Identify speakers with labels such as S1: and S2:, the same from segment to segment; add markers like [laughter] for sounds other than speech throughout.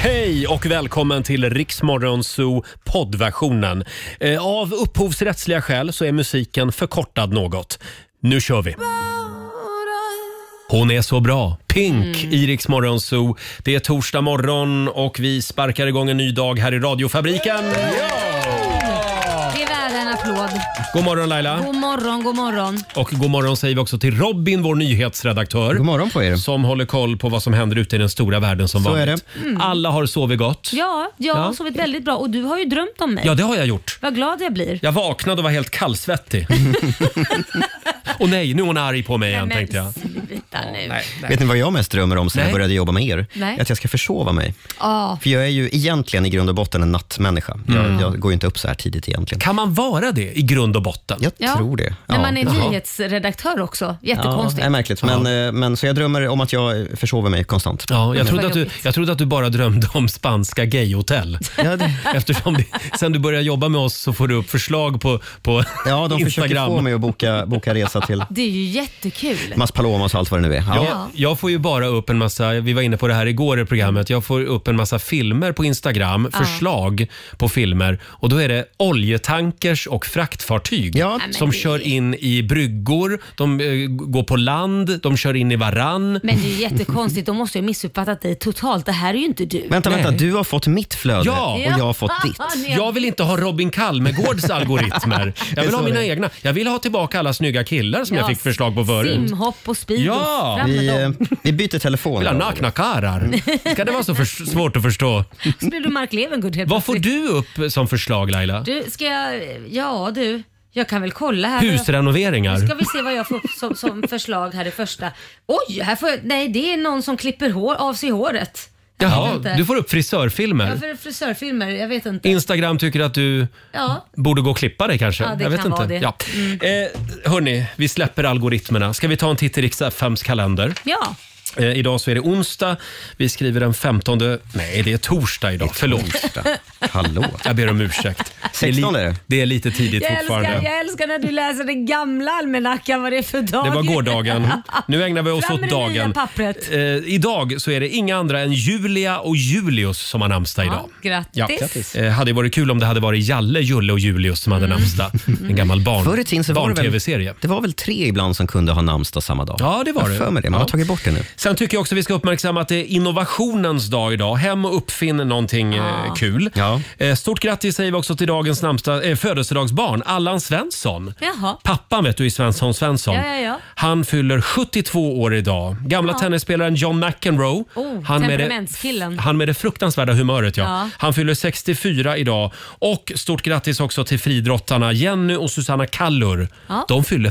S1: Hej och välkommen till Riksmorgon Zoo poddversionen. Eh, Av upphovsrättsliga skäl så är musiken förkortad något. Nu kör vi! Hon är så bra. Pink i Rix Morgon Zoo. Det är torsdag morgon och vi sparkar igång en ny dag här i radiofabriken.
S2: Det är värd en applåd.
S1: God morgon Laila.
S2: God morgon, god morgon.
S1: Och god morgon säger vi också till Robin, vår nyhetsredaktör.
S3: God morgon på er.
S1: Som håller koll på vad som händer ute i den stora världen som
S3: Så är
S1: vanligt. Alla har sovit gott.
S2: Ja, jag
S1: Ja.
S2: har sovit väldigt bra och du har ju drömt om mig.
S1: Ja, det har jag gjort.
S2: Vad glad jag blir.
S1: Jag vaknade och var helt kallsvettig. och nej, nu är hon arg på mig igen
S2: Men
S1: tänkte jag.
S2: sluta nu.
S3: Vet ni vad jag mest drömmer om sen
S1: Nej.
S3: jag började jobba med er?
S2: Nej.
S3: Att jag ska försova mig.
S2: Ja,
S3: För jag är ju egentligen i grund och botten en nattmänniska. Jag, jag går ju inte upp så här tidigt egentligen.
S1: Mm. Kan man vara det i grund och botten?
S3: Jag
S2: ja.
S3: tror det.
S2: När man är
S3: Jaha.
S2: nyhetsredaktör också.
S3: Ja,
S2: Jättekonstigt.
S3: det är märkligt. Men, eh, men, så jag drömmer om att jag försover mig konstant.
S1: Ja, jag, trodde
S2: Vad
S1: att du,
S2: jobbigt.
S1: jag trodde att du bara drömde om spanska gayhotell.
S3: Ja, det,
S1: Eftersom det, sen du började jobba med oss så får du upp förslag på, på
S3: ja de försöker
S1: Instagram.
S3: få mig att boka, boka resa till
S2: [laughs] Det är ju jättekul.
S3: Mas Palomas och allt vad det nu är. Ja.
S1: Jag, jag får ju bara upp en massa, vi var inne på det här igår i programmet, jag får upp en massa filmer på Instagram, förslag på filmer och då är det oljetankers och fraktfartyg
S3: Ja.
S1: som kör in i bryggor, de eh, går på land, de kör in i varann.
S2: Men det är ju jättekonstigt. De måste ju ha missuppfattat dig totalt. Det här är ju inte du.
S3: Vänta, vänta.
S1: Nej.
S3: Du har fått mitt flöde
S1: Ja.
S3: och jag har fått ditt.
S2: Ja, ni har-
S1: Jag vill inte ha
S3: [laughs]
S1: Robin Kalmegårds algoritmer. Jag vill
S3: Så
S1: ha mina
S3: det är.
S1: egna. Jag vill ha tillbaka alla snygga killar som jag
S2: Ja,
S1: fick förslag på förut.
S2: Simhopp och speedos.
S1: Ja.
S2: Fram med
S3: Vi, eh,
S2: dem.
S3: vi byter telefon.
S1: Vill ha nakna karlar.
S2: [laughs]
S1: Ska det vara så för, svårt att förstå?
S2: Så blev du Mark Levengood helt
S1: Vad får
S2: plötsligt.
S1: du upp som förslag Laila?
S2: Du, ska jag... Ja du. Jag kan väl kolla här.
S1: Husrenoveringar?
S2: Nu ska vi se vad jag får upp som, som förslag här i första. Oj, här får jag, nej det är någon som klipper hår, av sig håret. Jag vet
S1: Jaha,
S2: inte.
S1: du får upp
S2: Ja,
S1: frisörfilmer.
S2: för frisörfilmer, jag vet inte.
S1: Instagram tycker att du
S2: Ja,
S1: borde gå och klippa dig kanske.
S2: Ja, det
S1: jag vet
S2: kan
S1: inte.
S2: vara det. Mm.
S1: Ja. Eh, hörni, vi släpper algoritmerna. Ska vi ta en titt i Rix FMs kalender?
S2: ja.
S1: Eh, idag så är det onsdag. Vi skriver den 15... Nej, det är torsdag idag. Förlåt.
S3: Onsdag. Hallå.
S1: Jag ber om ursäkt. Det är,
S3: 16 är
S1: li-
S3: det.
S1: det är lite tidigt
S2: Jag
S1: fortfarande.
S2: älskar, jag älskar när du läser den gamla almanackan, vad det är för dag.
S1: Det var gårdagen. Nu ägnar vi oss
S2: Fram
S1: åt
S2: med det nya
S1: dagen.
S2: pappret.
S1: Eh, idag så är det inga andra än Julia och Julius som har namnsdag idag.
S2: grattis. Grattis. Mm.
S1: Eh, hade ju varit kul om det hade varit Jalle, Julle och Julius som hade namnsdag. En gammal barn,
S3: Förr i tiden så var det väl-
S1: barn-tv-serie.
S3: Det var väl tre ibland som kunde ha namnsdag samma dag?
S1: Ja, det var
S3: Jag
S1: det.
S3: för mig det. Man
S1: Ja.
S3: har tagit bort det nu.
S1: Sen tycker jag också vi ska uppmärksamma att det är innovationens dag idag. Hem och uppfinn någonting
S2: Ah.
S1: eh, kul.
S3: Ja.
S1: Eh, stort grattis säger vi också till dagens namnsdag, eh, födelsedagsbarn, Allan Svensson.
S2: Jaha.
S1: Pappan vet du i Svensson Svensson.
S2: Ja, ja, ja.
S1: Han fyller 72 år idag. Gamla tennisspelaren John McEnroe.
S2: Oh, temperamentskillen.
S1: han med det fruktansvärda humöret ja.
S2: Ja.
S1: Han fyller 64 idag. Och stort grattis också till fridrottarna Jenny och Susanna Kallur.
S2: Ja.
S1: De fyller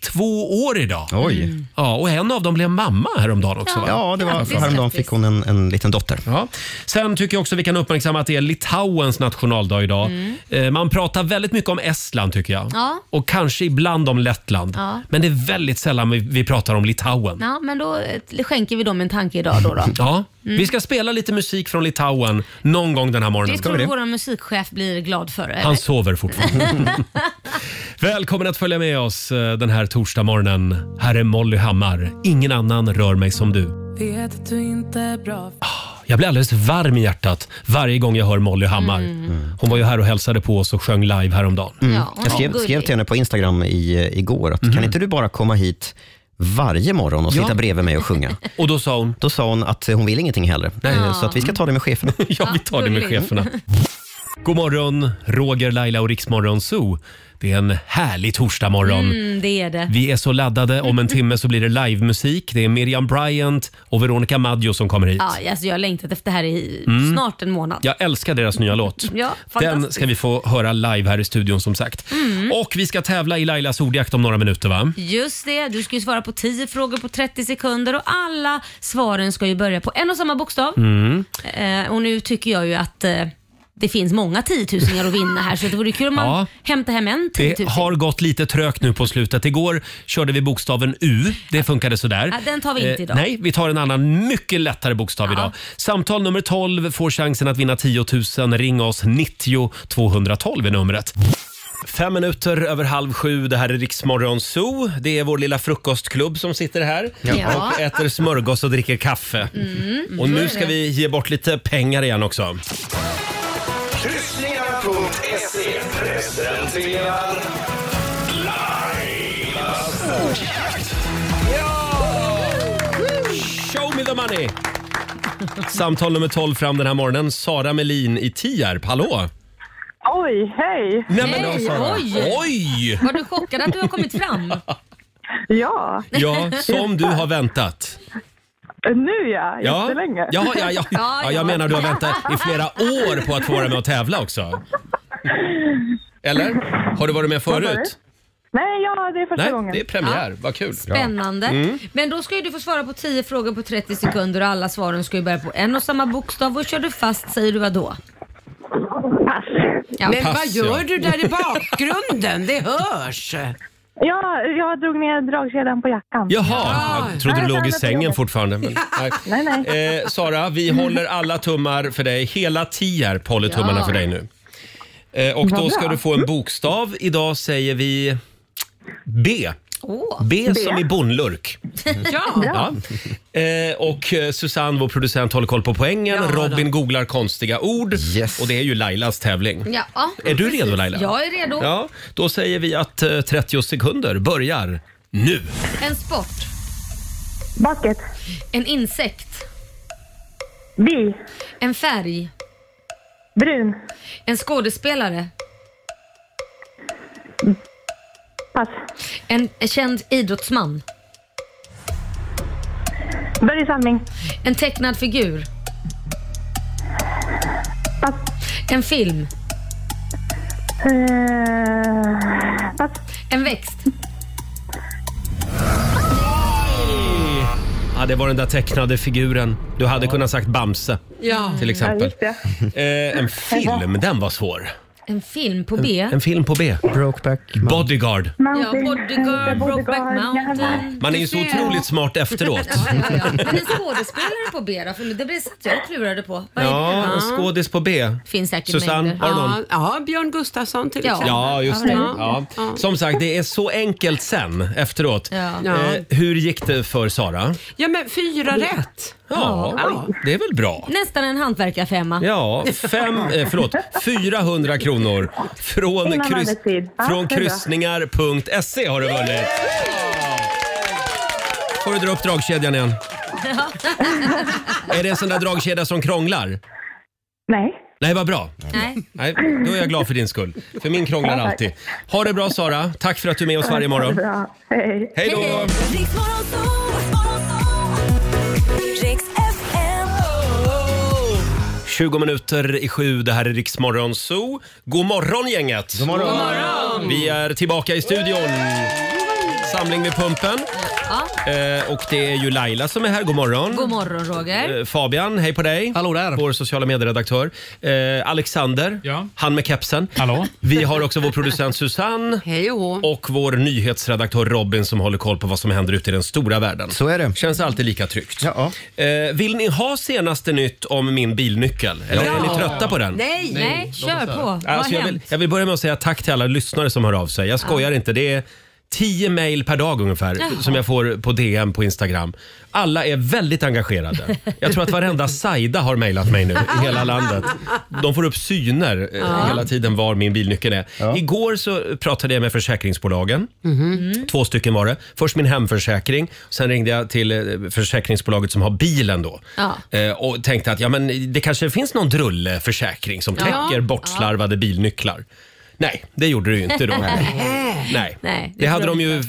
S1: 42 år idag.
S3: Oj.
S1: Ja, och en av dem blev mamma häromdagen också. Va?
S3: Ja, det var,
S2: Grattis,
S3: häromdagen
S2: grattis.
S3: fick hon en, en liten dotter.
S1: Ja. Sen tycker jag också vi kan uppmärksamma att det är Litauens nationaldag idag. Eh, Man pratar väldigt mycket om Estland tycker jag.
S2: Mm. Ja.
S1: Och kanske ibland om Lettland.
S2: Ja.
S1: Men det är väldigt sällan vi, vi pratar om Litauen. Ja.
S2: Ja, men då eh, skänker vi dem en tanke
S1: [laughs]
S2: idag då. Mm. då.
S1: Vi ska spela lite musik från Litauen någon gång den här morgonen.
S2: Det tror du vår musikchef blir glad för? Eller?
S1: Han sover
S2: [laughs]
S1: fortfarande. Välkommen att följa med oss eh, den här torsdagmorgonen. Här är Molly Hammar. Ingen annan rör mig som du.
S4: Vet att du inte är bra.
S1: Jag blir alldeles varm i hjärtat varje gång jag hör Molly Hammar. Hon var ju här och hälsade på oss och sjöng live häromdagen.
S2: Mm. Ja,
S3: Mm. Jag skrev,
S2: gullig.
S3: skrev till henne på Instagram i, eh, igår att kan inte du bara komma hit varje morgon och
S1: Mhm. Ja.
S3: sitta bredvid mig och sjunga?
S1: Och då sa hon,
S3: Då sa hon att hon vill ingenting heller. Eh, Så att vi ska ta det med cheferna.
S1: [laughs] ja vi tar det med
S2: gullig. [laughs]
S1: cheferna. God morgon, Roger, Laila och Riksmorgon Zoo. Det är en härlig torsdagmorgon.
S2: Mm, det är det.
S1: Vi är så laddade. Om en timme så blir det livemusik. Det är Miriam Bryant och Veronica Maggio som kommer hit.
S2: Ja, alltså, jag har längtat efter det här i snart en månad.
S1: Jag älskar deras nya låt.
S2: Ja,
S1: Mm. Den
S2: fantastiskt. Mm.
S1: ska vi få höra live här i studion som sagt. Och vi ska tävla i Lailas ordjakt om några minuter va?
S2: Just det, du ska ju svara på 10 frågor på 30 sekunder och alla svaren ska ju börja på en och samma bokstav.
S1: Mm.
S2: Eh, och nu tycker jag ju att eh, det finns många 10 000 att vinna här så det vore kul om man
S1: Ja.
S2: hämtar hem en 10
S1: Det
S2: 000.
S1: har gått lite trögt nu på slutet. Igår körde vi bokstaven U. Det funkade sådär. Eh,
S2: Ja, den tar vi inte idag.
S1: nej, vi tar en annan mycket lättare bokstav idag. Samtal nummer 12 får chansen att vinna 10 000. Ring oss. 90 212 är numret. Fem minuter över halv sju, det här är Riksmorgon Zoo. Det är vår lilla frukostklubb som sitter här
S2: Ja. Mm.
S1: och äter smörgås och dricker kaffe. och nu ska vi ge bort lite pengar igen också.
S5: Kryssningar.se presenterar Lailas ordjakt.
S1: Show me the money! Samtal nummer 12 fram den här morgonen. Sara Melin i Tierp, hallå!
S6: Oj, hej!
S1: Nej,
S2: Hej,
S1: då, Sara.
S2: oj.
S1: oj!
S2: Var du chockad att du har kommit fram?
S6: Ja,
S1: Ja, som du har väntat.
S6: Eh, nu ja,
S1: Ja,
S6: jättelänge.
S1: ja,
S6: [laughs]
S1: ja, ja. ja
S2: ja.
S1: jag menar du har väntat i flera år på att få vara med och tävla också. Eller? Har du varit med förut?
S6: Nej, ja, det är första
S1: Nej,
S6: gången.
S1: det är premiär. Mm. Vad kul.
S2: Spännande. Men då ska ju du få svara på 10 frågor på 30 sekunder och alla svaren ska ju börja på en och samma bokstav och kör du fast säger du vad då?
S6: Pass.
S2: Ja.
S7: Men
S1: Pass,
S7: vad gör
S1: ja.
S7: du där i bakgrunden? Det hörs.
S6: Ja, jag drog ner dragkedjan på jackan.
S1: Jaha, jag trodde du låg i sängen fortfarande. Men,
S6: Nej, nej.
S1: nej. Eh, Sara, vi håller alla tummar för dig. Hela Tierp håller tummarna
S2: Ja.
S1: för dig nu. Eh, och då
S6: Vad
S1: ska
S6: bra.
S1: du få en bokstav. Idag säger vi B.
S2: Åh.
S1: B som i bonlurk.
S7: Ja.
S1: Ja. Eh, och eh, Susanne, vår producent, håller koll på poängen.
S7: Ja, då.
S1: Robin googlar konstiga ord.
S3: Yes.
S1: Och det är ju Lailas tävling.
S2: Ja.
S1: Är du redo Laila?
S2: Jag är redo.
S1: Ja, då säger vi att eh, 30 sekunder börjar nu.
S2: En sport.
S6: Bucket.
S2: En insekt.
S6: Bi.
S2: En färg.
S6: Brun.
S2: En skådespelare.
S6: Pass.
S2: En känd idrottsman.
S6: Börje Salming.
S2: En tecknad figur.
S6: Pass.
S2: En film.
S6: Eh, pass.
S2: En växt.
S1: Ja, det var den där tecknade figuren. Du hade kunnat sagt Bamse
S7: ja.
S1: till
S6: Ja,
S1: exempel.
S6: just det.
S1: Eh, en film, den var svår.
S2: En film på B.
S1: En film på B.
S3: Brokeback Mountain.
S1: Bodyguard.
S2: Ja,
S6: Mountain.
S2: Bodyguard, Brokeback Mountain.
S1: Man är ju så otroligt smart efteråt.
S2: Ja, ja, ja. Men en skådespelare på B då? För det blev satt jag och klurade på. [laughs] Vad är det?
S1: Ja, en skådis på B.
S2: Finns säkert
S1: Susanne,
S2: mängder.
S1: har du någon?
S7: Ja, ja, Björn Gustafsson till
S2: Ja.
S7: exempel.
S1: Ja, just det. Ja.
S7: Ja.
S1: Som sagt, det är så enkelt sen efteråt.
S2: Ja.
S7: Ja.
S1: Eh, hur gick det för Sara?
S7: Ja, men fyra rätt.
S1: Ja,
S7: Ja.
S1: det är väl bra.
S2: Nästan en hantverkarfemma.
S1: Ja, fem, eh, förlåt, 400 kronor från,
S6: Innan
S1: kryss,
S6: arbetstid. Ja,
S1: från
S6: det är bra.
S1: kryssningar.se E har du vunnit. Får du dra upp dragkedjan igen? Är det en sån där dragkedja som krånglar?
S6: Nej.
S1: Nej, vad bra.
S2: Nej.
S1: Nej, då är jag glad för din skull. För min krånglar alltid. Ha det bra Sara. Tack för att du är med oss varje morgon.
S6: Bra. Hej.
S1: Hej då!
S2: Hej,
S8: Riks FM.
S1: 20 minuter i sju, det här är Riksmorgon Zoo. God morgon gänget! God morgon. Vi är tillbaka i studion. Samling vid pumpen.
S2: Ja.
S1: Eh, och det är ju Laila som är här, god morgon.
S2: God morgon Roger.
S1: Eh, Fabian, hej på dig.
S9: Hallå där.
S1: Vår sociala medieredaktör. Eh, Alexander,
S9: Ja.
S1: han med kepsen.
S9: Hallå?
S1: Vi har också vår producent Susanne.
S7: [laughs] Hej och hå.
S1: Och vår nyhetsredaktör Robin som håller koll på vad som händer ute i den stora världen.
S3: Så är det.
S1: Känns alltid lika tryggt.
S3: Ja,
S1: Eh, vill ni ha senaste nytt om min bilnyckel? Eller är ni trötta på den?
S7: Nej.
S2: Nej, kör på. Vad har
S1: Alltså jag, vill,
S2: hänt?
S1: jag vill börja med att säga tack till alla lyssnare som hör av sig. Jag skojar inte. Det är tio mejl per dag ungefär som jag får på DM på Instagram. Alla är väldigt engagerade. Jag tror att varenda Saida har mejlat mig nu i hela landet. De får upp syner eh, hela tiden var min bilnyckel är. Igår så pratade jag med försäkringsbolagen. Två stycken var det. Först min hemförsäkring, sen ringde jag till eh, försäkringsbolaget som har bilen då.
S2: Ja.
S1: Eh, Och tänkte att ja, men det kanske finns någon drulleförsäkring som täcker bortslarvade bilnycklar. Nej, det gjorde det ju inte
S2: [laughs]
S1: då.
S7: [laughs]
S1: Nej.
S2: Nej,
S1: det,
S2: det
S1: hade
S2: tror
S1: de ju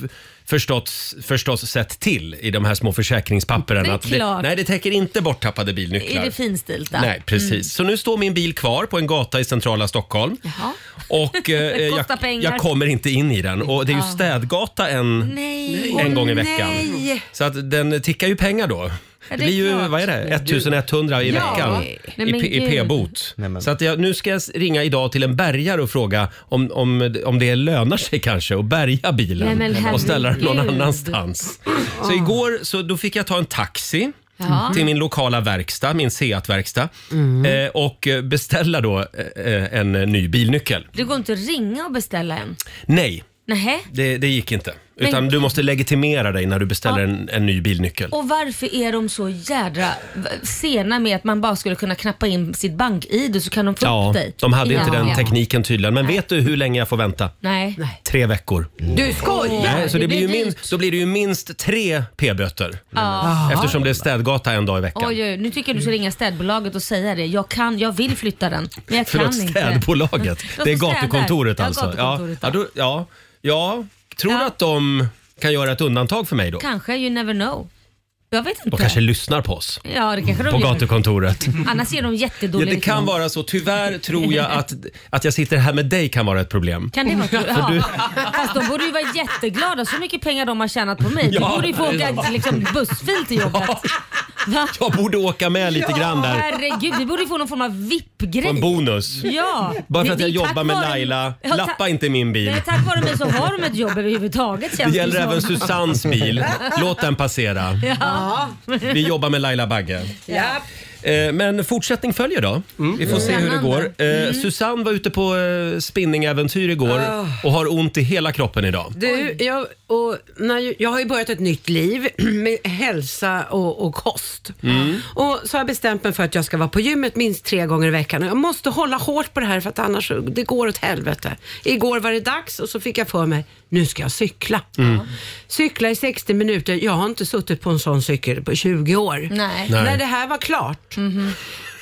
S1: förstås, förstås sett till i de här små försäkringspapperen.
S2: Det är
S1: att det,
S2: klart.
S1: nej, det täcker inte borttappade
S2: Är
S1: bilnycklar.
S2: det Mm. finstilta?
S1: Nej, precis. Så nu står min bil kvar på en gata i centrala Stockholm.
S2: Jaha.
S1: Och eh,
S2: [laughs] Det
S1: jag,
S2: kostar pengar.
S1: jag kommer inte in i den. Och det är ju städgata en,
S2: Nej.
S1: en gång i veckan.
S7: nej.
S1: Så att den tickar ju pengar då.
S2: det
S1: det,
S2: är
S1: blir ju,
S2: klart.
S1: vad är det, 1100 i veckan
S2: Nej,
S1: i,
S2: men
S1: P- i
S2: gud.
S1: p-bot.
S3: Nej, men-
S1: Så att jag, nu ska jag s- ringa idag till en bärgare och fråga om, om, om det lönar sig kanske att bärga bilen
S2: Nej, men
S1: och ställa den någon
S2: herregud.
S1: annanstans. Så igår så då fick jag ta en taxi.
S2: Ja.
S1: till min lokala verkstad, min Seat-verkstad
S3: Mm.
S1: eh, och eh, beställa då eh, en eh, ny bilnyckel.
S2: Du går inte att ringa och beställa en?
S1: Nej,
S2: Nähä.
S1: det, det gick inte.
S2: Men-
S1: Utan du måste legitimera dig när du beställer en, en ny bilnyckel.
S2: Och varför är de så jädra v- sena med att man bara skulle kunna knappa in sitt bank-id så kan de få upp dig?
S1: de hade inte
S2: Ja.
S1: den tekniken tydligen. Men vet du hur länge jag får vänta?
S2: Nej. Mm.
S1: Tre veckor.
S7: Du skojar!
S1: Nej, så det
S2: det
S1: blir ju
S2: blir dyrt.
S1: minst, då blir det ju minst tre p-böter. Mm. Eftersom det är städgata en dag i veckan.
S2: Oj, oj, nu tycker jag du ska ringa städbolaget och säga det. Jag kan, jag vill flytta den, men jag
S1: Förlåt,
S2: kan inte.
S1: städbolaget.
S2: De
S1: Det är
S2: som städar.
S1: gatukontoret
S2: Ja,
S1: alltså.
S2: gatukontoret,
S1: ja. Ja, då, ja. ja, tror du
S2: Ja.
S1: att de kan göra ett undantag för mig då?
S2: Kanske, you never know. Jag vet inte.
S1: De kanske lyssnar på oss
S2: Ja, det kanske de
S1: på
S2: gör.
S1: gatukontoret.
S2: Annars är de
S1: Ja,
S2: jättedåliga. liksom.
S1: det kan
S2: reklam.
S1: vara så. Tyvärr tror jag
S2: [laughs]
S1: att, att jag sitter här med dig kan vara ett problem.
S2: Kan det vara
S1: [laughs]
S2: kul? Ja. Fast de borde ju vara jätteglada. Så mycket pengar de har tjänat på mig.
S1: Ja,
S2: du borde ju få
S1: det är
S2: åka liksom, bussfil till jobbet. Va?
S1: Jag borde åka med lite grann där.
S2: Herregud, vi borde ju få någon form av
S1: På en
S2: VIP-grej.
S1: bonus.
S2: Ja.
S1: Bara för att
S2: Det-
S1: jag
S2: det är
S1: jobbar
S2: tack
S1: med
S2: vare-
S1: Laila.
S2: Ja, ta-
S1: Lappa inte min bil.
S2: Nej, tack vare mig så har de ett jobb överhuvudtaget
S1: Det
S2: känns
S1: gäller
S2: som.
S1: även Susannes bil. Låt den passera. Vi jobbar med Laila Bagge.
S7: Ja.
S1: Eh, Men fortsättning följer då. Vi får se hur det går. Eh, Susanne var ute på eh, spinningäventyr igår och har ont i hela kroppen
S7: [laughs]
S1: idag.
S7: Du, jag, och när, jag- jag har ju börjat ett nytt liv [clears throat] med hälsa och, och kost.
S1: Mm.
S7: Och så har jag bestämt mig för att jag ska vara på gymmet minst tre gånger i veckan. Och jag måste hålla hårt på det här för att annars det går åt helvete. Igår var det dags och så fick jag för mig, nu ska jag cykla.
S1: Mm.
S7: Cykla i 60 minuter, jag har inte suttit på en sån cykel på 20 år.
S2: Nej.
S1: Nej.
S7: När det här var klart.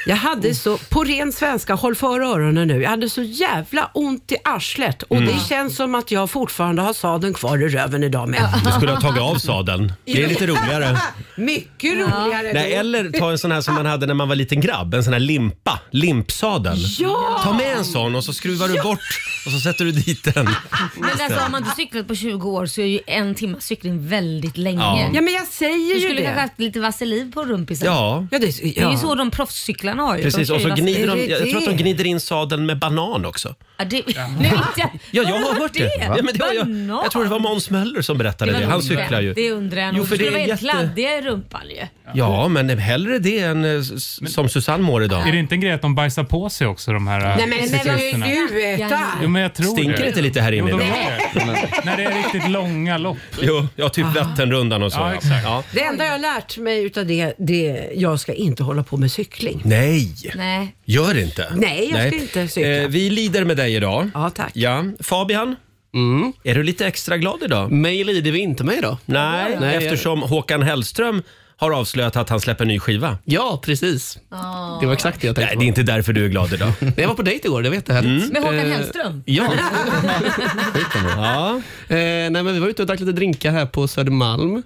S7: Jag hade så, på ren svenska, håll för öronen nu, jag hade så jävla ont i arslet och
S1: Mm.
S7: det känns som att jag fortfarande har sadeln kvar i röven idag med.
S1: Du skulle ha tagit av sadeln. Det är lite roligare.
S7: [laughs] Mycket roligare.
S1: Nej,
S7: då.
S1: eller ta en sån här som man hade när man var liten grabb. En sån här limpa. Limpsadel.
S7: Ja!
S1: Ta med en sån och så skruvar du bort och så sätter du dit den.
S2: Men alltså, om man inte cyklat på 20 år så är ju en timmas cykling väldigt länge.
S1: Ja.
S7: Ja men jag säger ju
S2: Du skulle
S7: det.
S2: kanske haft lite vaselin på rumpisen.
S1: Ja,
S7: Ja, det, ja.
S2: Det är ju så de proffscyklarna har ju.
S1: precis.
S2: De kör
S1: Och så
S2: ju vaselin.
S1: gnider de, jag tror att de
S7: det?
S1: gnider in sadeln med banan också.
S2: Ja, det, [laughs] nu vet jag.
S1: Ja, jag
S2: du
S1: har hört det. Ja, men det har jag,
S2: Banan.
S1: jag tror det var Måns Möller som berättade
S2: Det
S1: det.
S2: var
S1: Han
S2: undrar.
S1: cyklar ju.
S2: Det undrar jag
S1: Jo,
S2: nog.
S1: för
S2: För
S1: det
S2: det
S1: är
S2: var helt
S1: jätte-
S2: kladdiga i rumpan ju.
S1: Ja, men hellre det än eh, s- som Susanne mår idag.
S9: Är det inte en grej att de bajsar på sig också de här
S7: Nej men
S9: cyklisterna?
S7: sluta!
S9: Jo, men jag tror
S1: Stinker
S9: det.
S1: inte lite här
S9: Jo,
S1: inne
S9: de
S1: idag?
S9: gör det. När det är riktigt långa lopp.
S1: Jo, ja, typ Vätternrundan och så.
S9: Ja,
S1: ja.
S9: exakt.
S1: Ja.
S7: Det enda jag har lärt mig utav det, det jag ska inte hålla på med cykling.
S1: Nej,
S2: Nej.
S1: gör inte.
S7: Nej, jag ska inte cykla.
S1: Eh, vi lider med dig idag.
S7: Ja, tack.
S1: Ja. Fabian, är du lite extra glad idag?
S10: Mm. Mig lider vi inte med då.
S1: Nej,
S10: Nej, jag-
S1: eftersom Håkan Hellström har avslöjat att han släpper ny skiva.
S10: Ja, precis. Det var exakt det jag tänkte
S1: Nej, det är
S10: på.
S1: inte därför du är
S10: [laughs]
S1: glad idag.
S10: Jag var på dejt igår, det vet jag
S1: Mm.
S10: härligt.
S2: Med Håkan
S10: Eh,
S2: Hellström? [laughs]
S10: Ja.
S1: ja.
S10: Eh, nej, men vi var ute och drack lite drinkar här på Södermalm.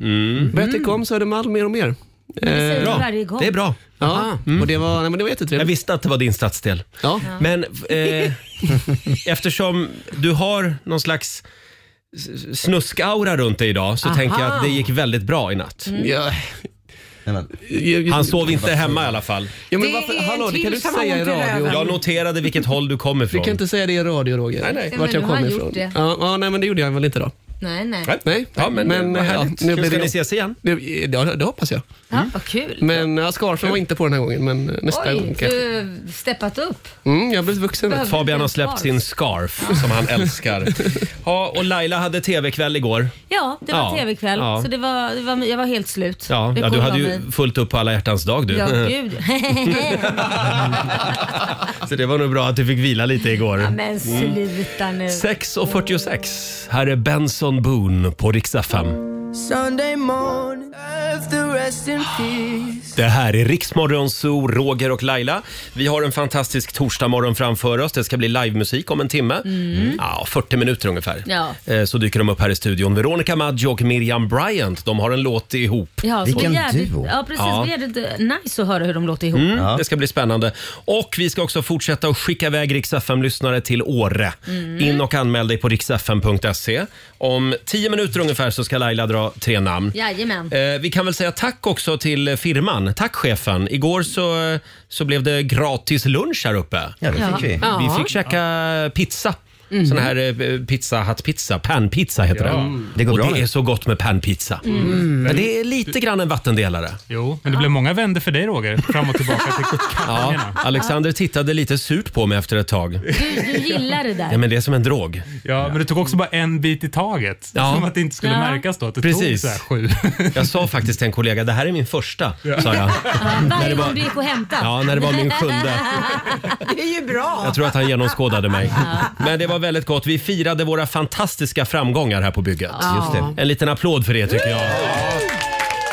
S10: Började tycka om Södermalm mer och mer.
S2: Mm.
S10: Eh,
S2: Det säger du
S1: Bra.
S2: varje gång.
S1: Mm. Det är bra.
S10: Ja, Mm. och det var, nej, men det var
S1: Jag
S10: jättetrevligt.
S1: visste att det var din stadsdel.
S10: Ja.
S1: Men eh, eftersom du har någon slags s- snuskaura runt dig idag så tänker jag att det gick väldigt bra i natt.
S10: Mm. Ja.
S3: Nej, men,
S10: Jag-
S1: Han sov inte hemma i alla fall.
S10: Ja,
S7: Det
S10: men varför,
S7: är en
S10: hallå, det kan du
S7: till
S10: inte
S7: som har
S10: säga i
S7: ont i röven.
S10: radio.
S1: Jag noterade vilket håll du kommer
S10: Du
S1: ifrån.
S10: kan inte säga det i radio, Roger. Nej,
S2: Nej,
S10: Vart
S2: men
S10: jag
S2: nu har
S10: kommer
S2: han
S10: ifrån.
S2: gjort det.
S10: Ja, ja, nej, men det gjorde jag väl inte då.
S2: Nej, nej.
S10: Nej.
S1: Ja, men, vad
S10: eh,
S1: härligt.
S10: ja, nu blev
S1: Ska
S10: det-
S1: ni ses igen?
S10: Det, ja, det hoppas jag.
S1: Mm.
S2: Ja, vad kul.
S10: Men ja, Skarsson var inte på den här gången, men eh, nästa gång
S2: Oj,
S10: kanske.
S2: du har steppat upp.
S10: Mm, jag har blivit vuxen.
S2: Behöver-
S1: Fabian har släppt sin scarf som han
S10: [laughs]
S1: älskar. Ja, och Laila hade tv-kväll igår.
S2: Ja, det var
S1: Ja.
S2: tv-kväll.
S1: Ja.
S2: Så det var, det var, jag var helt slut.
S1: Ja,
S2: Det
S1: ja, du
S2: kom
S1: hade
S2: av
S1: ju
S2: mig.
S1: fullt upp på alla hjärtans dag du. [laughs]
S2: Ja, gud. [laughs]
S1: Så det var nog bra att du fick vila lite igår. Mm.
S2: ja, men sluta nu.
S1: 6.46. Här är Benson Boone på riksdag 5. Det här är Riksmorgon Zoo, Roger och Laila. Vi har en fantastisk torsdagmorgon framför oss. Det ska bli livemusik om en timme. Ja, 40 minuter ungefär.
S2: Mm. Ja.
S1: Eh, Så dyker de upp här i studion. Veronica Maggio och Miriam Bryant. De har en låt ihop.
S2: Ja, så
S3: Vilken
S2: det är jävligt-
S3: duo.
S2: Ja, precis.
S1: Ja. Mm,
S2: Det är jävligt nice att höra hur de låter ihop.
S1: Det ska bli spännande. Och vi ska också fortsätta att skicka iväg Rix lyssnare till Åre.
S2: Mm.
S1: In och anmäl dig på riksfm.se. E. Om 10 minuter ungefär så ska Laila dra tre namn.
S2: Jajamän.
S1: Eh, vi kan väl säga tack också till firman. Tack chefen. Igår så, så blev det gratis lunch här uppe.
S3: ja, det
S2: Ja.
S3: fick vi.
S1: Vi fick käka pizza. Mm. Sån här eh, pizza, hattpizza, panpizza heter
S9: Ja.
S1: den.
S9: Mm.
S1: Det går och bra det är så gott med panpizza.
S9: Mm.
S1: Men det är lite grann en vattendelare.
S9: Jo, men det blev många vänder för dig Roger, fram och tillbaka till
S1: [laughs] Ja,
S9: kampanjerna.
S1: Alexander tittade lite surt på mig efter ett tag.
S2: Du, du gillar det där.
S1: Ja, men det är som en drog.
S9: Ja, men du tog också bara en bit i taget.
S1: Ja.
S9: Som att det inte skulle
S2: Ja.
S9: märkas då att du
S1: Precis.
S9: tog så här sju.
S1: [laughs] Jag sa faktiskt till en kollega, det här är min första, sa jag.
S2: Ja,
S1: När det
S2: varje
S1: var-
S2: gång du gick och hämtade.
S1: Ja, när det var
S2: [laughs]
S1: min sjunde.
S7: Det är ju bra.
S1: Jag tror att han genomskådade mig. Men det var väldigt gott. Vi firade våra fantastiska framgångar här på bygget.
S7: Just det.
S1: En liten applåd för det tycker jag.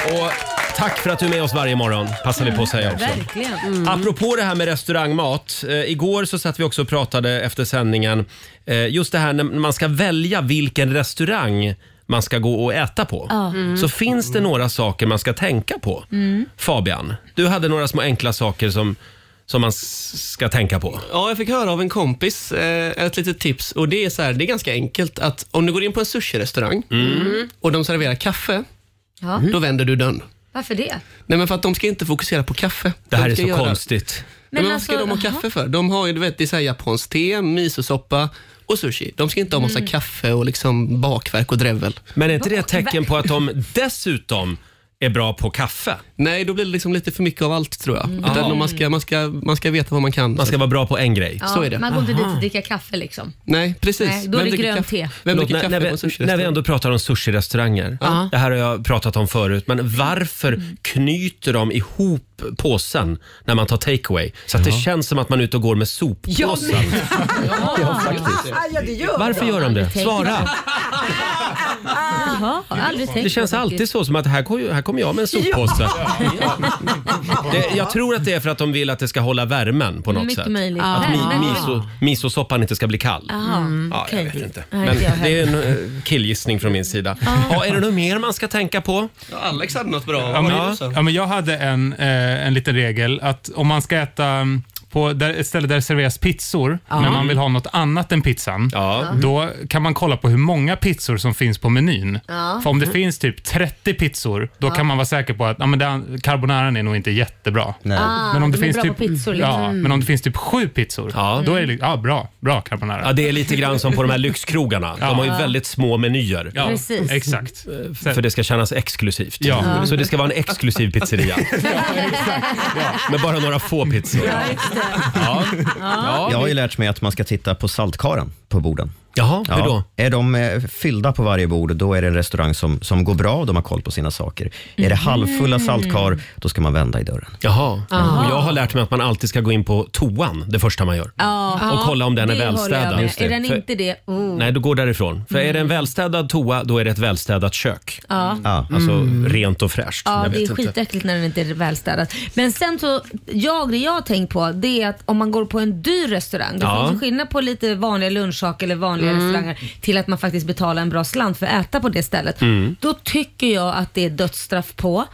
S1: Och tack för att du är med oss varje morgon, passar vi på att säga också.
S2: Verkligen.
S1: Mm. Apropå det här med restaurangmat. Eh, igår så satt vi också och pratade efter sändningen. Eh, just det här när man ska välja vilken restaurang man ska gå och äta på. Mm.
S2: Ja.
S1: Så finns det några saker man ska tänka på.
S2: Mm.
S1: Fabian, du hade några små enkla saker som, som man s- ska tänka på.
S10: Ja, jag fick höra av en kompis eh, ett litet tips och det är så här, det är ganska enkelt att om du går in på en sushi-restaurang och de serverar kaffe,
S2: Ja.
S10: då
S3: Mm.
S10: vänder du dörren.
S2: Varför det?
S10: Nej, men för att de ska inte fokusera på kaffe.
S1: Det här
S10: de
S1: är
S10: ska
S1: så
S10: göra-
S1: konstigt.
S10: Men,
S2: Men
S10: vad ska
S2: alltså,
S10: de ha
S2: jaha.
S10: kaffe för? De har ju, du vet, det är så här japanskt te, misosoppa och sushi. De ska inte ha massa
S2: Mm.
S10: kaffe och liksom bakverk och drevel.
S1: Men är inte det ett tecken på att de dessutom är bra på kaffe?
S10: Nej, då blir det liksom lite för mycket av allt tror
S2: Mm.
S10: jag. Utan man, ska, man, ska, man ska veta vad man kan.
S1: Man ska vara bra på en grej.
S2: Ja,
S10: Så är det.
S2: Man går inte dit och dricker kaffe liksom.
S10: Nej, precis.
S2: Nej, då är det
S10: dricker
S2: grönt
S10: kaffe?
S2: te.
S10: Vem
S1: Förlåt,
S10: dricker
S1: när,
S10: kaffe
S1: när,
S10: på en
S1: vi, när vi
S10: sushi-restaurang?
S1: ändå pratar om sushi-restauranger. Det här har jag pratat om förut, men varför knyter de ihop påsen när man tar takeaway? Så att det känns som att man är ute och går med soppåsen.
S7: Ah, ja, det gör
S1: Varför gör de det? Svara!
S2: Jaha, jag har aldrig tänkt
S1: Det
S2: på
S1: känns alltid
S2: faktiskt.
S1: så som att här, går, ju- här kommer jag med en soppåse. Det, jag tror att det är för att de vill att det ska hålla värmen på något
S2: Mycket
S1: sätt.
S2: möjligt.
S1: Att mi,
S2: Värmen.
S1: miso, misosoppan inte ska bli kall.
S2: Jaha,
S1: Ja, jag
S2: okej.
S1: vet inte.
S2: Nej,
S1: Men
S2: inte jag
S1: det är en eh, killgissning från min sida. Ja, är det något mer man ska tänka på?
S10: Ja, Alex hade något bra.
S9: Ja, men,
S10: Ja.
S9: ja. men jag hade en, eh, en liten regel att om man ska äta mm, på där, ett ställe där det serveras pizzor, men man vill ha något annat än pizzan,
S1: Ja.
S9: då kan man kolla på hur många pizzor som finns på menyn. För om det finns typ 30 pizzor, då kan man vara säker på att ja, men den, carbonaran är nog inte jättebra.
S2: Ah,
S9: Men om det,
S2: de är
S9: finns
S2: bra
S9: typ,
S2: på pizzor liksom.
S9: ja, men om det finns typ sju pizzor,
S1: Ja.
S9: då är det li- ja, bra, bra
S1: Ja,
S9: carbonara.
S1: det är lite grann som
S9: [laughs]
S1: på de här lyxkrogarna. De har ju väldigt små menyer.
S9: Ja,
S2: Precis.
S9: Exakt.
S1: För det ska kännas exklusivt.
S9: Ja.
S1: Så det ska vara en exklusiv pizzeria. [laughs] Med bara några få pizzor. Ja, ja.
S3: Jag
S2: Mm.
S3: har ju lärt mig att man ska titta på saltkaren på borden.
S1: Jaha, hur då?
S3: Är de eh, fyllda på varje bord, då är det en restaurang som, som går bra och de har koll på sina saker. [laughs] Är det halvfulla
S1: Mm.
S3: saltkar, då ska man vända i dörren.
S1: Jaha. Och jag har lärt mig att man alltid ska gå in på toan det första man gör.
S2: Ja,
S1: Och kolla om den är
S2: det håller jag
S1: välstädad.
S2: med.
S1: Just det.
S2: Är den
S1: För-
S2: inte det? Oh.
S1: Nej, du går därifrån. För
S2: Mm.
S1: är det en välstädad toa, då är det ett välstädat kök.
S2: Ja.
S3: Ja.
S1: Alltså rent och fräscht.
S2: Ah. Ja,
S1: jag
S2: det
S1: vet
S2: är
S1: inte.
S2: skitäckligt när den inte är välstädad. Men sen så, jag, det jag har tänkt på det är att om man går på en dyr restaurang, det
S1: Ja.
S2: finns ju skillnad på lite vanliga lunchsaker eller vanliga restauranger till att man faktiskt betalar en bra slant för att äta på det stället.
S1: Mm.
S3: Mm.
S2: Då tycker jag att det är dödsstraff på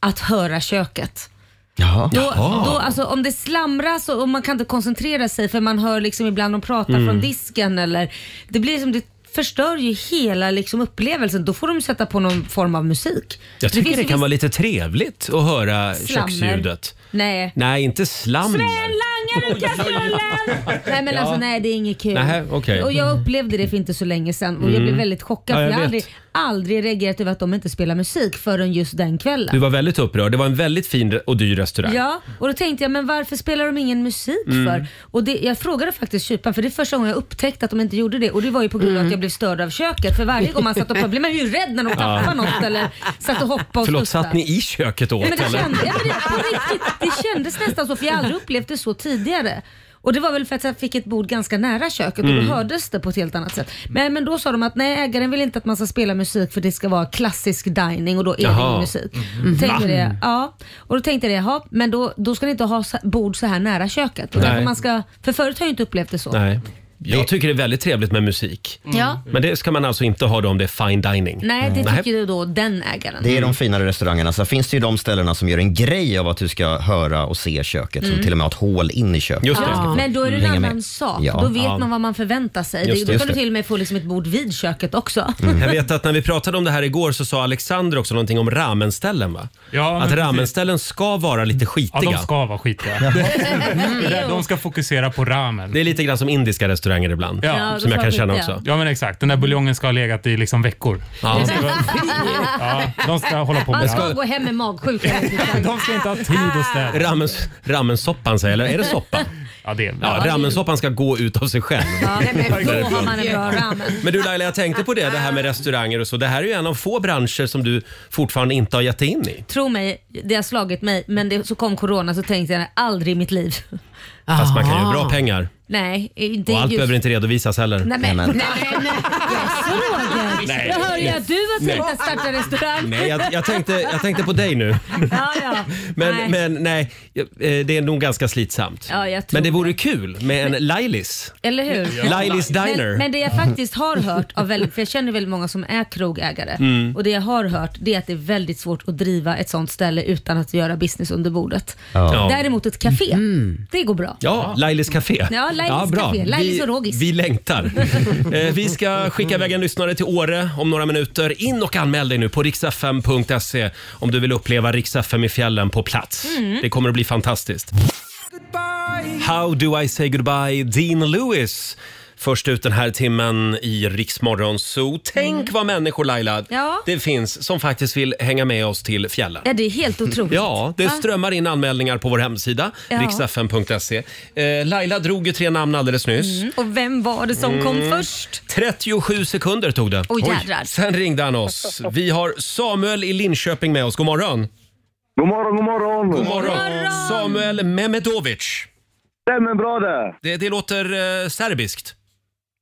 S2: att höra köket.
S3: Jaha.
S2: Då, då, alltså, om det slamras och, och man kan inte koncentrera sig för man hör liksom ibland de pratar
S1: Mm.
S2: från disken eller det blir som det förstör ju hela liksom upplevelsen. Då får de sätta på någon form av musik.
S1: Jag
S2: finns
S1: tycker det
S2: ju
S1: kan
S2: viss-
S1: vara lite trevligt att höra
S2: Slammer.
S1: köksljudet.
S2: Nej.
S1: Nej, inte slammer.
S2: Vem langar ut kastrullen? Nej men alltså nej det är inget kul.
S1: Nähä, okej. Mm.
S2: Och jag upplevde det för inte så länge sedan och jag blev väldigt chockad
S1: Ja, jag
S2: för jag har
S1: vet.
S2: aldrig, aldrig reagerat över att de inte spelar musik förrän just den kvällen.
S1: Du var väldigt upprörd. Det var en väldigt fin och dyr restaurang.
S2: Ja, och då tänkte jag men varför spelar de ingen musik
S1: Mm.
S2: för? Och det, jag frågade faktiskt kyparen för det är första gången jag upptäckte att de inte gjorde det och det var ju på grund av
S1: Mm.
S2: att jag blev störd av köket för varje gång man satt och pratade blev man ju rädd när de tappade något eller satt och hoppade och
S1: Förlåt,
S2: studsade.
S1: satt ni i köket åt
S2: Nej, men det,
S1: eller?
S2: kändes, ja, men det, på riktigt, det kändes nästan så, för jag har aldrig upplevt det så tidigare. Och Det var väl för att jag fick ett bord ganska nära köket och
S1: Mm.
S2: då hördes det på ett helt annat sätt. Men, men då sa de att nej, ägaren vill inte att man ska spela musik för det ska vara klassisk dining och då är det
S1: Jaha. Mm.
S2: ingen musik. Tänkte det, ja. Och Då tänkte jag det, jaha, men då, då ska ni inte ha så- bord så här nära köket. Och
S1: Nej.
S2: därför man ska, för förut har jag Mm. inte upplevt det så.
S1: Nej. Jag tycker det är väldigt trevligt med musik.
S2: Ja.
S1: Men det ska man alltså inte ha då om det är fine dining.
S2: Nej, det
S1: Nej.
S2: tycker ju då den ägaren.
S3: Det är de finare restaurangerna. Sen finns det ju de ställena som gör en grej av att du ska höra och se köket, som till och med har ett hål in i köket.
S1: Just det.
S2: Mm. Ja, men då är det en
S3: Hänga
S2: annan
S3: med.
S2: sak.
S3: Ja.
S2: Då vet
S1: Ja.
S2: man vad man förväntar sig.
S3: Just det,
S2: det, då
S3: just
S2: kan du
S3: det.
S2: till och med få liksom ett bord vid köket också.
S1: Mm. Jag vet att när vi pratade om det här igår så sa Alexander också någonting om ramenställen va?
S9: Ja, men
S1: att
S9: precis.
S1: ramenställen ska vara lite
S9: Ja,
S1: skitiga.
S2: Mm.
S9: de ska vara skitiga. Det- De ska fokusera på ramen.
S1: Det är lite grann som indiska restauranger ibland.
S9: Ja.
S1: Som jag kan känna också.
S9: Ja, men exakt. Den där buljongen ska ha legat i liksom veckor.
S1: Ja.
S2: [laughs]
S9: Ja, de ska hålla på med
S2: Man
S9: det.
S2: ska gå hem med magsjuka.
S9: De ska inte ha tid att städa.
S1: Ramens, ramensoppan säger jag, eller är det soppa?
S9: Ja, det är
S1: Ja, ramensoppan ska gå ut av sig själv.
S2: Ja, men då har
S1: Därifrån.
S2: man en bra ramen.
S1: Men du Laila, jag tänkte på det, det här med restauranger och så. Det här är ju en av få branscher som du fortfarande inte har gett dig in i.
S2: Tro mig, det har slagit mig, men det, så kom corona så tänkte jag aldrig i mitt liv.
S1: Fast man kan ju bra pengar.
S2: Nej, inte
S1: Och allt
S2: just...
S1: behöver inte redovisas heller.
S2: Nej, men, nej, nej, nej. Jaså Roger?
S1: Nej.
S2: Jag hör ju att du har tänkt att starta restaurang.
S1: Nej, jag, jag, tänkte, jag tänkte på dig nu.
S2: Ja, ja.
S1: Men
S2: nej.
S1: nej, men, nej eh, det är nog ganska slitsamt.
S2: Ja, jag tror
S1: men det vore kul med en Lailis.
S2: Eller hur?
S1: Lailis Diner.
S2: Men, men det jag faktiskt har hört av väldigt, för jag känner väldigt många som är krogägare
S1: Mm.
S2: och det jag har hört det är att det är väldigt svårt att driva ett sånt ställe utan att göra business under bordet.
S1: Ja.
S2: Däremot ett café, det går bra.
S1: Ja, Lailis Café.
S2: Ja, Lailis Café. Lailis och Rogis.
S1: Vi, vi
S2: [laughs]
S1: längtar. eh, vi ska skicka iväg en lyssnare till Åre om några minuter. In och anmäl dig nu på riksfm.se om du vill uppleva riksfm i fjällen på plats.
S5: Mm.
S1: Det kommer att bli fantastiskt. How do I say goodbye, Dean Lewis. Först ut den här timmen i Riksmorgon Zoo. Tänk vad människor, Laila,
S2: Mm. Ja.
S1: det finns som faktiskt vill hänga med oss till fjällen.
S2: Ja, det är helt otroligt. Ah.
S1: Ja, det
S2: Va?
S1: strömmar in anmälningar på vår hemsida,
S2: Ja.
S1: riksfn.se. Eh, Laila drog ju tre namn alldeles nyss.
S2: Mm. Och vem var det som kom
S1: Mm.
S2: först?
S1: 37 sekunder tog det.
S2: Oj, jädrar.
S1: Sen ringde han oss. Vi har Samuel i Linköping med oss. God morgon!
S11: God morgon, god morgon!
S1: God morgon! Samuel Memedovic.
S11: Stämmer bra det!
S1: Det, det låter eh, serbiskt.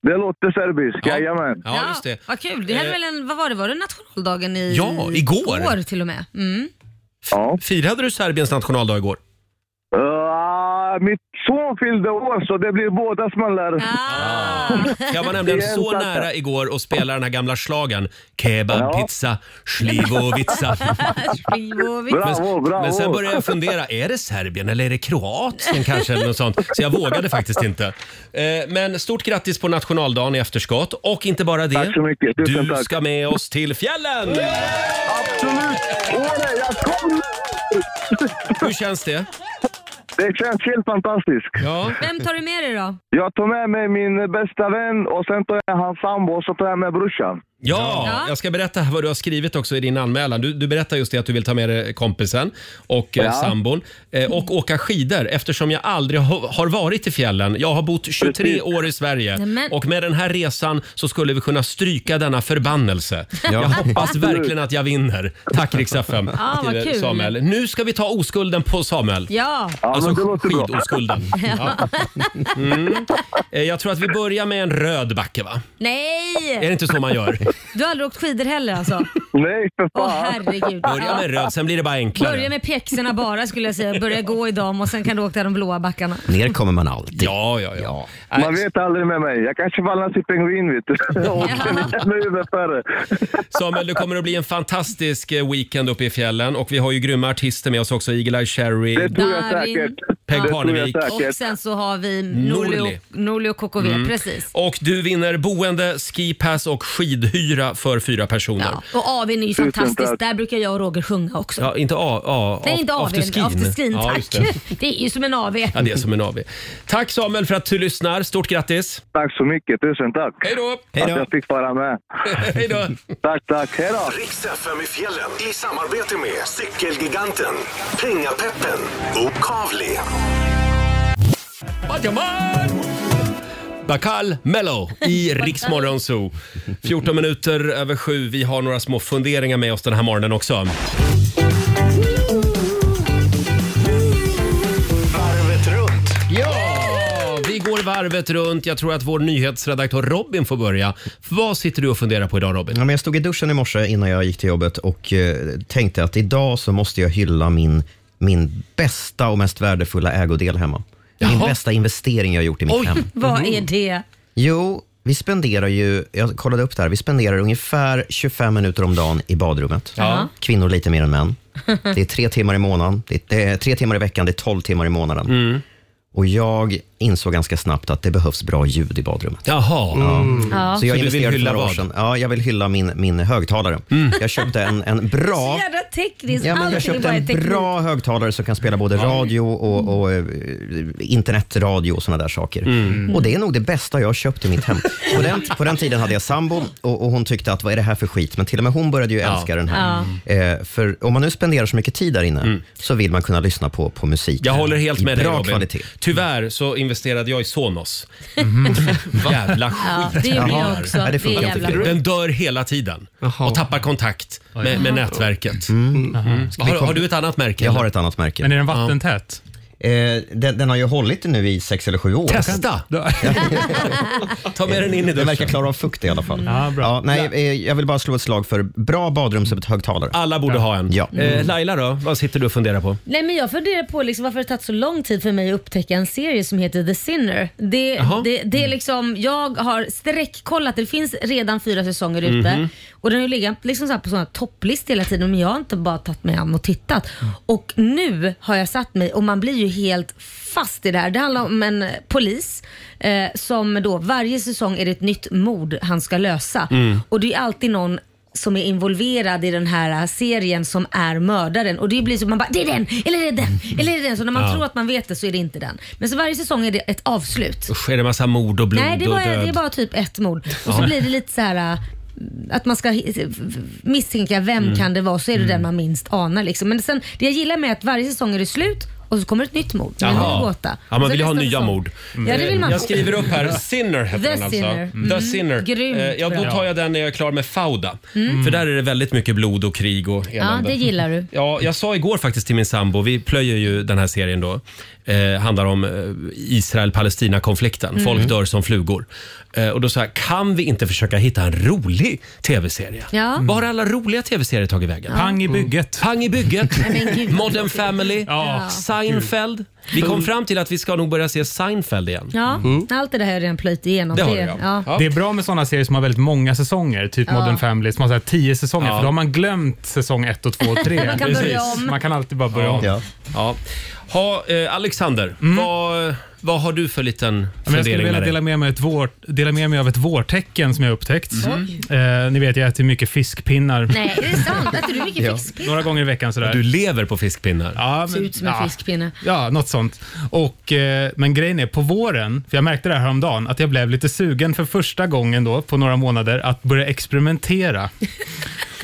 S11: Det låter serbiskt, jajamän.
S1: Ja, just det.
S2: Vad kul. Det här är
S1: Eh.
S2: väl en, vad var det, var det nationaldagen i...
S1: Ja, igår.
S2: igår till och med. Mm.
S1: F- Firade du Serbiens nationaldag igår?
S11: Ah, mitt son fyllde år så det blir båda smällar.
S1: Ah.
S2: Ah.
S1: Jag var nämligen
S11: Det är
S1: så
S11: sant.
S1: nära igår och spelade den här gamla slagen Kebab,
S11: Ja.
S1: pizza,
S2: [laughs]
S1: schlivovitsa.
S11: [laughs] Bravo, bravo!
S1: Men sen började jag fundera, är det Serbien eller är det Kroatien kanske? Eller något sånt. Så jag vågade faktiskt inte. Eh, Men stort grattis på nationaldagen i efterskott. Och inte bara det.
S11: Tack så mycket. Tusen
S1: Du
S11: tack.
S1: ska med oss till fjällen!
S11: Absolut! Åre, jag kommer!
S1: Hur känns det?
S11: Det känns helt fantastiskt.
S1: Ja.
S2: Vem tar du med dig då?
S11: Jag tar med mig min bästa vän och sen tar jag hans sambo och så tar jag med brorsan.
S1: Ja, jag ska berätta vad du har skrivit också i din anmälan. Du, du berättar just det att du vill ta med dig kompisen och eh,
S11: Ja.
S1: sambon eh, och åka skidor eftersom jag aldrig ho- har varit i fjällen. Jag har bott 23
S11: Precis.
S1: år i Sverige
S2: Nämen.
S1: och med den här resan så skulle vi kunna stryka denna förbannelse.
S3: Ja.
S1: Jag hoppas
S3: Absolut.
S1: verkligen att jag vinner. Tack Rix FM
S2: Ja, vad
S1: till, eh,
S2: kul.
S1: Samuel. Nu ska vi ta oskulden på Samuel.
S2: Ja.
S1: Alltså
S11: bra.
S2: [laughs]
S1: skidoskulden. Ja. Mm. Eh, Jag tror att vi börjar med en röd backe va?
S2: Nej!
S1: Är det inte så man gör?
S2: Du har aldrig åkt skidor heller alltså?
S11: [laughs] Nej, för
S2: Åh
S11: fan!
S2: herregud.
S1: Börja med röd, sen blir det bara enklare.
S2: Börja med pjäxorna bara skulle jag säga. Börja gå i dem och sen kan du åka de blåa backarna.
S3: Ner kommer man alltid.
S1: Ja, ja, ja.
S11: Man vet aldrig med mig. Jag kanske faller till pingvin,
S1: [laughs]
S11: vet du. Och [laughs] sen är det färre.
S1: Samuel, det kommer att bli en fantastisk eh, weekend uppe i fjällen och vi har ju grymma artister med oss också. Eagle-Eye Cherry.
S11: Det tror jag
S2: Darin.
S11: säkert.
S1: Peg
S11: Det tror jag
S1: Parnevik.
S11: säkert. Mm.
S2: Och sen så har vi
S1: Norli.
S2: Norli och- Norli och KKV, precis.
S1: Mm. Och du vinner boende, skipass och skidhyra för fyra personer. Ja.
S2: Och AWn är ju
S11: Tusen
S2: fantastisk.
S11: tack.
S2: Där brukar jag och Roger sjunga också.
S1: inte A, A,
S2: Nej, inte AWn.
S1: afterskin.
S2: Afterskin,
S1: Ja,
S2: tack.
S1: just det.
S2: det. är ju som en AW.
S1: Ja, det är som en AV. Tack Samuel för att du lyssnar. Stort grattis!
S11: Tack så mycket. Tusen tack.
S1: Hej då!
S11: Att jag fick vara med.
S1: [laughs] Hej då!
S11: Tack, tack. Hej då!
S5: Riks FM i fjällen i samarbete med Cykelgiganten, Pengapeppen och Kavli.
S1: Bajaman!
S2: [laughs]
S1: Bakal Mello i Riksmorgon Zoo. 14 minuter över sju. Vi har några små funderingar med oss den här morgonen också.
S5: Varvet runt.
S1: Ja, vi går varvet runt. Jag tror att vår nyhetsredaktör Robin får börja. Vad sitter du och funderar på idag Robin?
S3: Ja, men jag stod i duschen i morse innan jag gick till jobbet och eh, tänkte att idag så måste jag hylla min, min bästa och mest värdefulla ägodel hemma. Min
S2: Jaha.
S3: bästa investering jag har gjort i mitt hem. Mhm.
S2: Vad
S1: Mm.
S2: är det?
S3: Jo, vi spenderar ju, jag kollade upp det här, vi spenderar ungefär 25 minuter om dagen i badrummet.
S2: Ja. Mm.
S3: Kvinnor lite
S2: Mm.
S3: mer än män. Det är tre timmar i månaden, det är, det är tre timmar i veckan, det är 12 timmar i månaden. Och jag insåg ganska snabbt att det behövs bra ljud i badrummet.
S1: Jaha. Mm.
S3: Ja. Så
S1: Så du
S3: jag
S1: vill
S3: investerade
S1: hylla
S3: för några år
S1: vad? Mm.
S3: sedan. Ja, jag vill hylla min, min högtalare. Jag köpte en, en bra
S2: [laughs] Så jävla tekniskt.
S3: Ja, men jag
S2: Allting är
S3: köpte
S2: bara
S3: en
S2: teknik. [laughs] Mm.
S3: bra högtalare som kan spela både radio och, och eh, internetradio och såna där saker.
S1: Mm.
S3: Och det är nog det bästa jag har köpt i mitt
S1: [laughs]
S3: hem. På den, på den tiden hade jag sambo och, och hon tyckte att vad är det här för skit? Men till och med hon började ju älska den här. Eh, för om man nu spenderar så mycket tid där inne så vill man kunna lyssna på, på musik.
S1: Mm. Jag håller helt
S3: i
S1: med dig
S3: bra
S1: Robin.
S3: kvalitet.
S1: Tyvärr så investerade jag i Sonos.
S2: Mm.
S3: Mm.
S1: Jävla skit.
S2: Ja, det gjorde jag
S1: Jaha.
S2: också. Ja, det funkar Det är inte. jävla-
S1: Den dör hela tiden och tappar kontakt med, med
S2: Jaha.
S1: nätverket. Mm.
S3: Ska vi
S1: Har,
S3: komma-
S1: har du ett annat märke?
S3: Jag har ett annat märke.
S1: Men är den
S9: vattentät?
S3: Eh, den, den har ju hållit nu i sex eller sju år.
S1: Testa! [laughs] Ta med den in i duschen.
S3: Den verkar klara av fukt i alla fall.
S1: Ja, bra.
S3: nej, eh, jag vill bara slå ett slag för bra badrumshögtalare.
S1: Alla borde ha en.
S3: Ja.
S1: Eh, Laila då, vad sitter du och funderar på?
S2: Nej men jag funderar på liksom varför det tagit så lång tid för mig att upptäcka en serie som heter The Sinner. Det,
S1: Jaha.
S2: det, det
S12: Mm.
S2: är liksom, jag har sträckkollat, det finns redan fyra säsonger ute
S12: Mhm.
S2: och den har ju legat liksom så här på sådana topplistor hela tiden men jag har inte bara tagit mig an och tittat.
S12: Mm.
S2: Och nu har jag satt mig och man blir ju helt fast i det här. Det handlar om en polis eh, som då varje säsong är det ett nytt mord han ska lösa.
S12: Mm.
S2: Och det är alltid någon som är involverad i den här eh, serien som är mördaren. Och det blir så man bara, det är den, eller det är den, eller det är den. Så när man
S1: Mm. Ja.
S2: tror att man vet det så är det inte den. Men så varje säsong är det ett avslut.
S1: Usch, är det massa mord och blod
S2: Nej, det är,
S1: och
S2: bara,
S1: död?
S2: det är bara typ ett mord. Och så
S1: Ja.
S2: blir det lite så här eh, att man ska hi- misstänka vem
S1: Mm.
S2: kan det vara så är det den man minst anar. Liksom. Men sen, det jag gillar med att varje säsong är det slut och så kommer ett nytt mord. Men det är en
S1: Jaha.
S2: gåta.
S1: Ja, man
S2: Och
S1: vill ju
S2: sen
S1: ha
S2: Alltså, nästa
S1: nya
S2: säsong.
S1: mord. Mm.
S2: Ja, det vill man
S1: Jag skriver upp här, Sinner heter
S2: The
S1: den alltså.
S2: Sinner. Mm.
S1: The Sinner.
S2: Grymt
S1: Eh, ja, då
S2: bra.
S1: tar jag den när jag är klar med Fauda.
S2: Mm.
S1: För där är det väldigt mycket blod och krig och
S2: Ja,
S1: elände.
S2: det gillar du.
S1: Ja, jag sa igår faktiskt till min sambo, vi plöjer ju den här serien då. Eh, handlar om eh, Israel-Palestina-konflikten.
S2: Mm.
S1: Folk dör som flugor. Eh, och då sa jag, kan vi inte försöka hitta en rolig tv-serie?
S2: Ja. Mm.
S1: Var har alla roliga tv-serier tagit vägen? Mm.
S2: Ja. Pang
S9: i bygget.
S1: Pang i bygget. Modern Family.
S2: Ja.
S1: Seinfeld. Vi kom fram till att vi ska nog börja se Seinfeld igen.
S2: Ja, allt det där har jag redan plöjt igenom.
S1: Mm. Det har du, ja.
S2: ja.
S9: Det är bra med sådana serier som har väldigt många säsonger, typ
S2: Ja.
S9: Modern Family som har så här tio säsonger,
S1: Ja.
S9: för då har man glömt säsong ett och två och tre.
S2: [laughs] Man kan börja Precis. om.
S9: Man kan alltid bara börja
S1: Ja.
S9: om. Mm.
S1: Ja. Ja. Ha, eh, Alexander, vad, vad har du för liten
S9: Ja, Men jag skulle
S1: fundering
S9: vilja
S1: med dig?
S9: dela med, mig ett vår, dela med mig av ett vårtecken som jag upptäckt. Eh, ni vet, jag äter mycket fiskpinnar.
S2: Mm. Nej, är det sant? Äter du mycket
S9: Ja.
S2: fiskpinnar?
S9: Några gånger i veckan. Sådär.
S1: Du lever på fiskpinnar?
S9: Ja,
S2: Ser ut som en
S9: ja.
S2: fiskpinne.
S9: Ja, något sånt. Och, eh, men grejen är, på våren, för jag märkte det här häromdagen, att jag blev lite sugen för första gången då, på några månader, att börja
S2: [laughs]
S9: experimentera.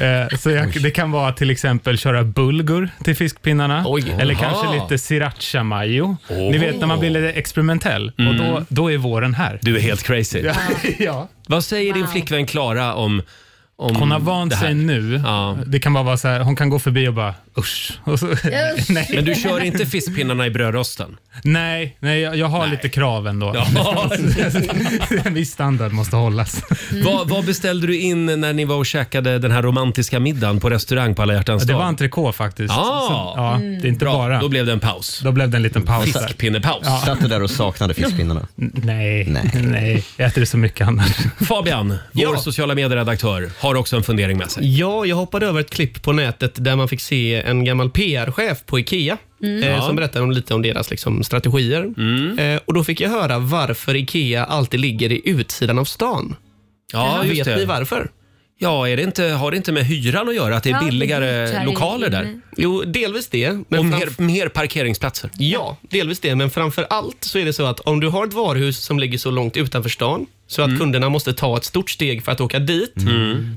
S9: eh, så jag, det kan vara till exempel köra bulgur till fiskpinnarna, eller
S1: Jaha.
S9: kanske lite sriracha mayo. Ni vet när man blir lite experimentell, och då, då är våren här.
S1: Mm. Du är helt crazy.
S9: Ja. [laughs] ja.
S1: Vad säger din flickvän Klara om, om
S9: Hon har vant
S1: det här?
S9: sig nu. Det kan bara vara så här, hon kan gå förbi och bara usch. Och så, [laughs] nej.
S1: Men du kör inte fiskpinnarna i brödrosten?
S9: Nej, nej
S1: [laughs]
S9: jag, jag har lite krav ändå.
S1: Ja.
S9: [laughs] en viss standard måste hållas.
S1: [laughs] Vad, vad beställde du in när ni var och käkade den här romantiska middagen på restaurang på alla hjärtans
S9: Det
S1: dag?
S9: var entrecote faktiskt.
S1: Ja.
S9: Så- ja, det är inte
S1: Bra,
S9: bara.
S1: då blev det en paus.
S9: Då blev det en liten paus. där.
S1: Fiskpinnepaus.
S9: Ja.
S3: Satt du där och saknade fiskpinnarna?
S9: Nej, nej. jag äter det så mycket annars.
S1: [laughs] Fabian, vår
S10: Ja.
S1: sociala medieredaktör, har också en fundering med sig.
S10: Ja, jag hoppade över ett klipp på nätet där man fick se en gammal PR-chef på IKEA
S1: Mm.
S10: eh,
S1: Ja. Mm.
S10: som berättade om lite om deras liksom, strategier. Eh, och Då fick jag höra varför IKEA alltid ligger i utsidan av stan.
S1: Ja, just
S10: Vet
S1: det.
S10: ni varför?
S1: Ja, är det inte, har det inte med hyran att göra? Att det är
S10: Ja, det är dyrt här
S1: billigare
S10: i
S1: lokaler där?
S10: inne. Jo, delvis det. Men
S1: Och mer,
S10: framf-
S1: mer parkeringsplatser?
S10: Ja, delvis det. Men framför allt så är det så att om du har ett varuhus som ligger så långt utanför stan så att
S1: Mm.
S10: kunderna måste ta ett stort steg för att åka dit,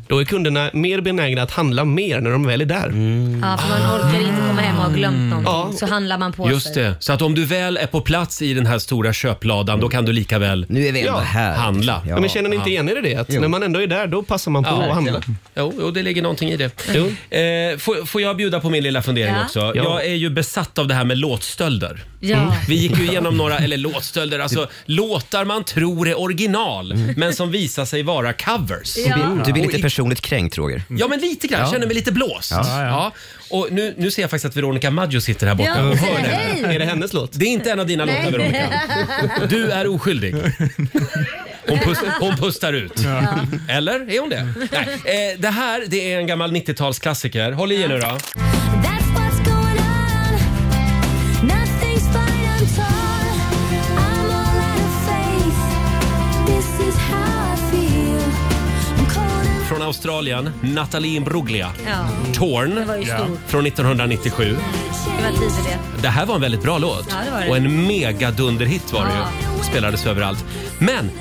S10: då är kunderna mer benägna att handla mer när de väl är där.
S1: Mm,
S2: Ja, för man orkar inte komma hem och ha glömt någonting. Så handlar man på
S1: Just
S2: sig.
S1: det. Så att om du väl är på plats i den här stora köpladan, då kan du lika väl
S3: nu är vi ändå här.
S1: handla.
S10: Ja. men känner ni inte igen er i det? Att när man ändå är där, då passar man på
S1: Ja,
S10: att handla.
S1: verkligen. Jo, jo, det
S10: [laughs]
S1: ligger någonting i det.
S10: Jo.
S1: Eh, får, får jag bjuda på min lilla fundering
S2: Ja.
S1: också?
S10: Ja.
S1: Jag är ju besatt av det här med låtstölder.
S2: Ja.
S1: Mm. Vi gick ju igenom några, eller låtstölder, alltså låtar man tror är original men som visar sig vara covers.
S3: Mm. Du blir, du blir
S1: Och
S3: lite
S1: i-
S3: personligt kränkt, Roger.
S1: Ja, men lite grann.
S3: Ja.
S1: Jag känner mig lite blåst.
S3: Ja,
S1: Ja,
S3: ja.
S1: Och nu, nu ser jag faktiskt att Veronica Maggio sitter här borta
S2: Ja,
S1: och hör
S2: hej.
S1: det.
S2: Är det
S10: hennes låt?
S1: Det är inte en av dina låtar,
S2: [laughs]
S1: Veronica. Du är oskyldig. Hon, pus hon pustar ut. Eller är hon det? Nej. Eh, det här det är en gammal 90-talsklassiker. Håll i er nu då.
S8: That's what's going on. Nothing's fine, I'm torn.
S1: Australien, Nathalie Imbruglia.
S2: Ja.
S1: Torn
S2: Det var ju stort.
S1: från 1997.
S2: Det var tid för det.
S1: Det här var en väldigt bra låt.
S2: Ja, det var det.
S1: Och en megadunderhit var det ju. Spelades överallt. Men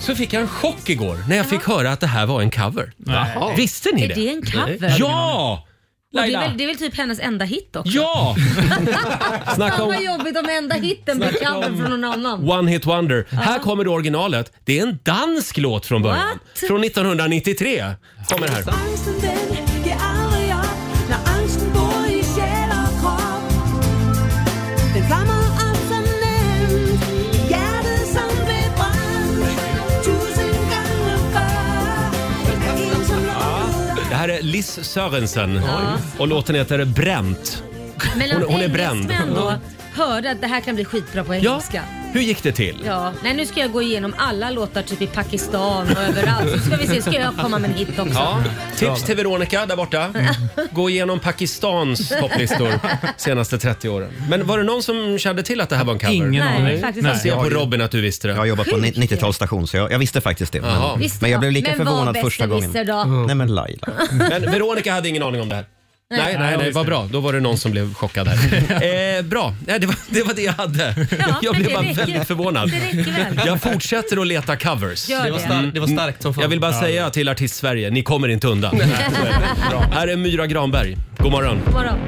S1: så fick jag en chock igår när jag fick höra att det här var en cover.
S2: Jaha.
S1: Visste ni
S2: Är
S1: det?
S2: det en cover?
S1: Ja!
S2: Och det,
S1: Laila.
S2: är väl, det är väl typ hennes enda hit också? [laughs]
S1: Ja! Snacka
S2: Snacka
S1: om-
S2: om... jobbigt om enda hiten blir
S1: Snacka
S2: cover
S1: om-
S2: från någon annan.
S1: One hit wonder.
S2: Ja.
S1: Här kommer det originalet. Det är en dansk låt från början.
S8: What?
S1: Från 1993. Kommer här.
S8: Angsten den ger aldrig upp När angsten bor i själ och kropp Den flammar allt som nämnt Hjärtat som blev bränt Tusen gånger förr Är en som
S1: Det här är Liz Sörensen
S2: Ja.
S1: och låten heter Bränt.
S2: Men
S1: Hon-
S2: hon,
S1: hon är bränd.
S2: ändå hörde att det här kan bli skitbra på engelska.
S1: Hur gick det till?
S2: Ja. Nej, nu ska jag gå igenom alla låtar typ i Pakistan och överallt. Så ska vi se, ska jag komma med en hit också?
S1: Ja, tips till Veronica där borta.
S3: Mm.
S1: Gå igenom Pakistans topplistor senaste 30 åren. Men var det någon som kände till att det här var en cover?
S3: Ingen
S2: Nej, aning. faktiskt
S1: Jag
S2: inte.
S1: ser på Robin att du visste det.
S3: Jag har jobbat på
S2: Sjukt.
S3: 90-talsstation så jag, jag visste faktiskt det.
S1: Jaha.
S3: Men,
S2: Visste
S3: men jag blev
S2: jag.
S3: lika
S2: Men var
S3: förvånad
S2: bäst
S3: första
S2: i
S3: gången.
S2: visser då?
S3: Nej men Laila.
S1: Men Veronica hade ingen aning om det här.
S2: Nej.
S1: Nej, nej, nej, vad bra. Då var det någon som blev chockad
S2: [laughs]
S1: här. Eh, bra, nej, det, var, det var det jag hade. [laughs] jag
S10: men
S1: blev
S10: det
S1: bara
S10: räcker.
S1: väldigt förvånad.
S10: Det räcker väl.
S1: Jag fortsätter att leta covers.
S10: Gör Det var det. star- det var starkt som fan.
S1: Jag vill bara
S10: Ja.
S1: säga till Artist-Sverige, ni kommer inte undan. Bra. [laughs] Här är Myra Granberg. God morgon.
S2: God morgon.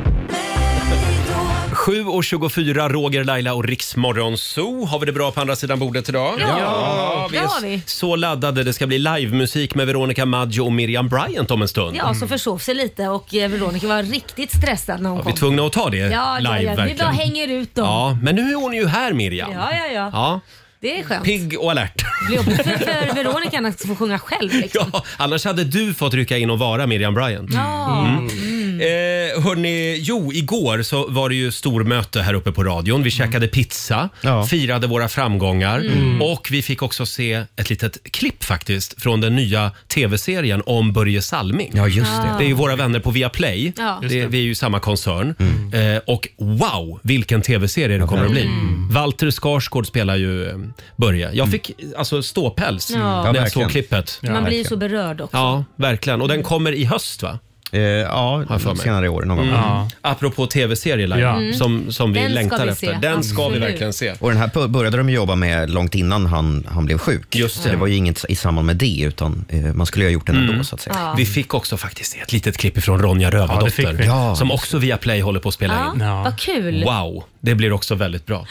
S1: 7.24, Roger, Laila och Riksmorgon Zoo. Har vi det bra på andra sidan bordet idag?
S2: Ja,
S1: vi
S2: det
S1: är
S2: har vi.
S1: så laddade. Det ska bli livemusik med Veronica Maggio och Miriam Bryant om en stund.
S2: Ja, så försov sig lite och eh, Veronica var riktigt stressad när hon
S1: Vi
S2: kom.
S1: är tvungna att ta det
S2: ja,
S1: live
S2: ja, ja. Vi bara
S1: verkligen.
S2: hänger ut dem.
S1: Ja, men nu är hon ju här Miriam.
S2: Ja, ja, ja.
S1: Ja.
S2: Det är skönt.
S1: Pigg och alert.
S2: Det blir jobbigt för, för Veronica när hon ska få sjunga själv. Liksom.
S1: Ja, annars hade du fått rycka in och vara Miriam Bryant.
S2: Ja.
S1: Mm. Eh, hörni, jo, igår så var det ju stormöte här uppe på
S2: Mm.
S1: radion. Vi käkade pizza, firade våra framgångar
S10: Mm.
S1: och vi fick också se ett litet klipp faktiskt från den nya tv-serien om Börje Salming. Ja,
S3: just
S2: det.
S1: Det är ju våra vänner på Viaplay.
S2: Ja. Just
S1: Det,
S2: det. Mm.
S1: vi är ju samma koncern. Eh, och wow, vilken tv-serie det kommer att bli. Walter Skarsgård spelar ju eh, Börje. Jag fick alltså ståpäls
S2: Mm. Ja. Ja,
S1: när jag
S3: verkligen.
S1: såg klippet.
S2: Man blir ju så berörd också. Mm.
S1: Ja, verkligen. Och den kommer i höst va?
S3: Eh, ja, senare i år någon gång.
S1: Mm.
S3: Ja.
S1: Apropå tv-serier Laila,
S3: Ja.
S2: Mm.
S1: som, som vi
S2: Den ska
S1: länktar
S2: vi se,
S1: efter. Den ska vi
S2: absolut.
S1: verkligen se.
S3: Och den här pu- började de ju jobba med långt innan han, han blev sjuk.
S1: Just
S3: det. det var ju inget i samband med det, utan eh, man skulle ju ha gjort den ändå så att säga.
S2: Ja.
S1: Mm. Vi fick också faktiskt se ett litet klipp ifrån Ronja Rövardotter,
S3: Ja, det fick vi. Ja.
S1: som också via Play håller på att spela
S2: Ja,
S1: in.
S2: Vad kul.
S1: Wow, det blir också väldigt bra.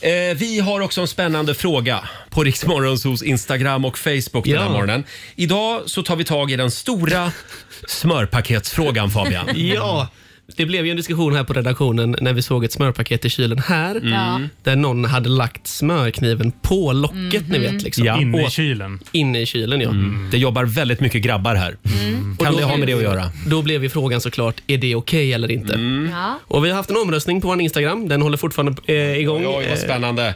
S1: Eh, vi har också en spännande fråga på Riksmorgonsos Instagram och Facebook den här
S10: Ja.
S1: morgonen. Idag så tar vi tag i den stora smörpaketsfrågan Fabian.
S10: Ja, det blev ju en diskussion här på redaktionen när vi såg ett smörpaket i kylen här.
S2: Mm.
S1: Ja.
S10: Där någon hade lagt smörkniven på locket, ni
S2: Mm-hmm.
S10: vet. Liksom.
S1: Ja. Inne i Mm.
S10: kylen. Inne i kylen, ja.
S1: Det jobbar väldigt mycket grabbar här.
S2: Mm.
S1: Kan det ha med det att göra? Mm.
S10: Då blev ju frågan såklart, är det okej eller inte?
S2: Ja.
S10: Och Vi har haft en omröstning på vår Instagram. Den håller fortfarande eh, igång.
S1: Oj, vad spännande.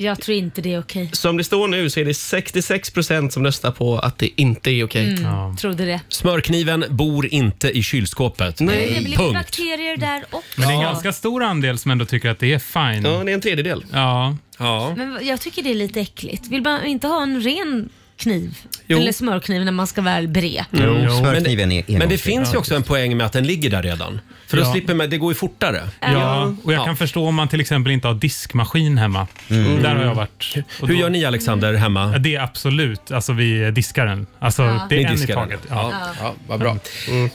S2: Jag tror inte det är okej.
S10: Som det står nu så är det 66 procent som röstar på att det inte är okej.
S2: Mm, Trodde det.
S1: Smörkniven bor inte i kylskåpet.
S2: Nej. Det blir ju bakterier där också.
S9: Men det är en ganska stor andel som ändå tycker att det är fine.
S10: Ja, det är en tredjedel.
S9: Ja.
S1: ja.
S2: Men jag tycker det är lite äckligt. Vill man inte ha en ren kniv?
S1: Jo.
S2: Eller smörkniv när man ska väl bre?
S1: Mm.
S3: smörkniven är
S1: Men, men det
S3: engångsfri.
S1: finns ju också en poäng med att den ligger där redan. För då
S9: Ja.
S1: slipper man, det går ju fortare.
S9: Ja, och jag kan förstå om man till exempel inte har diskmaskin hemma.
S1: Mm.
S9: Där har jag varit.
S1: Hur gör ni Alexander hemma?
S9: Det är absolut, alltså vi diskar den. Alltså
S1: Ja.
S9: det
S1: Ni
S9: är en i
S1: diskar den.
S9: taget.
S1: Ja. Ja, vad bra.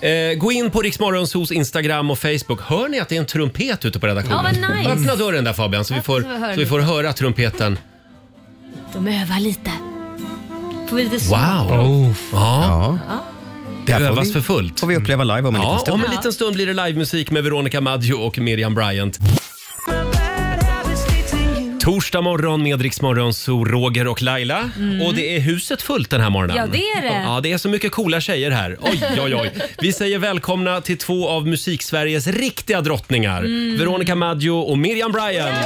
S1: Eh, gå in på Riksmorgonsos Instagram och Facebook. Hör ni att det är en trumpet ute på
S2: Ja,
S1: redaktionen?
S2: vad nice.
S1: Öppna dörren där Fabian så vi, får,
S2: vi höra
S1: så vi får höra trumpeten.
S2: De övar lite. Får vi lite
S1: Wow!
S2: smak på dem?
S1: Ja. Ja.
S2: Ja.
S1: Det
S3: Där får
S1: övas
S3: vi-
S1: för fullt.
S3: får vi uppleva live om en liten
S1: Ja,
S3: stund.
S1: om en liten stund blir det livemusik med Veronica Maggio och Miriam Bryant. Torsdag morgon med Rix Morgon, så Roger och Laila.
S2: Mm.
S1: Och det är huset fullt den här morgonen.
S2: Ja, det är det.
S1: Ja, det är så mycket coola tjejer här. Oj, oj, oj. Vi säger välkomna till två av Musiksveriges riktiga drottningar.
S2: Mm.
S1: Veronica Maggio och Miriam Bryant.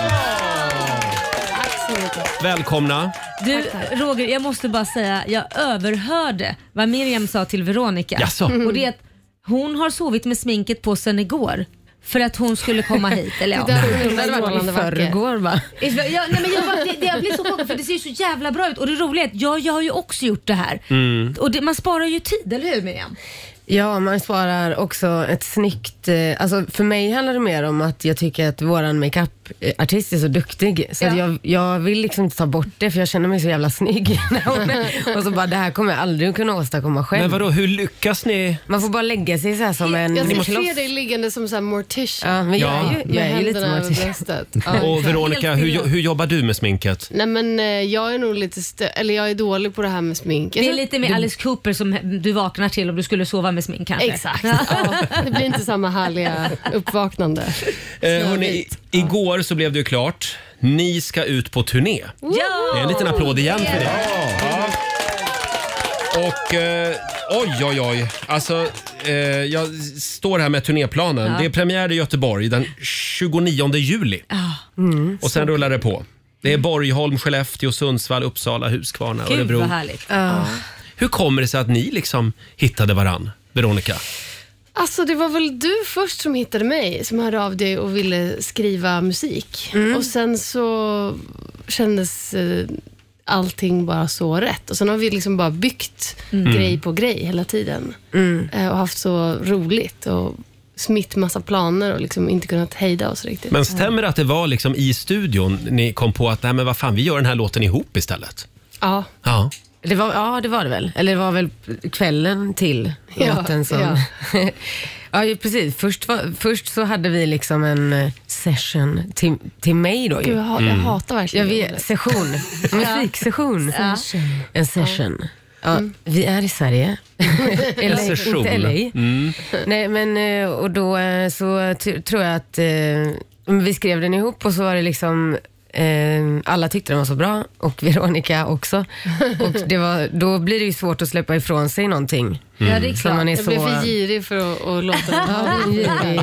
S2: Tack så mycket.
S1: Välkomna.
S2: Du, Roger, jag måste bara säga, jag överhörde vad Miriam sa till Veronica.
S12: Mm.
S1: Jaså?
S2: Och det är att hon har sovit med sminket på sen igår. för att hon skulle
S12: [laughs]
S2: komma hit. Eller, ja.
S12: Det där hade varit i förrgår,
S2: va? Ja, nej, men jag, bara, det, det, jag blir så chockad för det ser ju så jävla bra ut och det roliga är att jag, jag har ju också gjort det här.
S12: Mm.
S2: Och det, man sparar ju tid, eller hur Miriam?
S12: Ja, man sparar också ett snyggt... eh, Alltså för mig handlar det mer om att jag tycker att våran makeup-artist är så duktig. Så
S2: Ja.
S12: att jag, jag vill liksom inte ta bort det för jag känner mig så jävla snygg. när hon- och så bara, det här kommer jag aldrig kunna åstadkomma själv.
S1: Men vadå, hur lyckas ni?
S12: Man får bara lägga sig så här som en...
S1: Ni
S12: en
S1: måste-
S12: kloss.
S1: ser
S12: dig liggande som så mortish. Ja, men jag
S1: Ja.
S12: är ju, jag är
S1: Med
S12: ju lite
S1: händerna över
S12: mortish.
S13: Ja,
S1: Och
S13: exakt.
S1: Veronica,
S13: Helt
S1: hur, jo-
S13: fel.
S1: hur jobbar du med sminket?
S13: Nej men eh, jag är nog lite stö- eller jag är dålig på det här med smink. Jag
S2: Det är
S13: tror-
S2: lite mer Alice Cooper som du vaknar till om du skulle sova med smink kanske.
S12: [laughs]
S13: Exakt. Ja, det blir inte samma härliga uppvaknande.
S1: Eh, hörni, i- igår så blev det ju klart. Ni ska ut på turné.
S2: Ja!
S1: Det är en liten applåd igen för det. Ja. Och eh, oj, oj, oj. Alltså, eh, jag s- står här med turnéplanen.
S2: Ja.
S1: Det är premiär i Göteborg den 29 juli.
S2: Ja.
S1: Mm. Och sen rullar det på. Det är Borgholm, Skellefteå, Sundsvall, Uppsala, Huskvarna,
S2: Gud
S1: Örebro.
S2: vad härligt.
S1: Hur kommer det sig att ni liksom hittade varann, Veronica?
S13: Alltså det var väl du först som hittade mig, som hörde av dig och ville skriva musik.
S12: Mm.
S13: Och sen så kändes eh, allting bara så rätt. Och sen har vi liksom bara byggt
S12: Mm.
S13: grej på grej hela tiden. Eh, Och haft så roligt och smitt massa planer och liksom inte kunnat hejda oss riktigt. Mm.
S1: Men stämmer det att det var liksom i studion ni kom på att Nej, men vad fan, vi gör den här låten ihop istället?
S13: Ja.
S1: Ja.
S12: Det var, ja, det var det väl. Eller det var väl kvällen till
S13: Ja,
S12: natten som...
S13: ja.
S12: Ja, [laughs] ju precis. Först, var, först så hade vi liksom en eh, session till, till mig då. ju.
S13: Gud, jag ha- jag Mm. hatar verkligen
S12: jag
S13: det
S12: vet,
S13: ordet. [laughs]
S12: Session. Musiksession.
S13: Ja.
S12: En session. Ja,
S13: Mm.
S12: Vi är i
S13: [laughs]
S12: Sverige.
S8: En
S12: LA,
S8: session.
S12: Inte LA.
S13: Mm.
S12: Nej, men eh, och då eh, så t- tror jag att eh, men vi skrev den ihop och så var det liksom eh, alla tyckte den var så bra och Veronica
S13: [laughs]
S12: också. Och det var, då blir det ju svårt att släppa ifrån sig någonting.
S13: Ja, det är
S12: Som
S13: klart.
S12: Man är
S13: jag
S12: så,
S13: blev för girig för att,
S12: [laughs]
S13: att låta den
S12: Ja, du är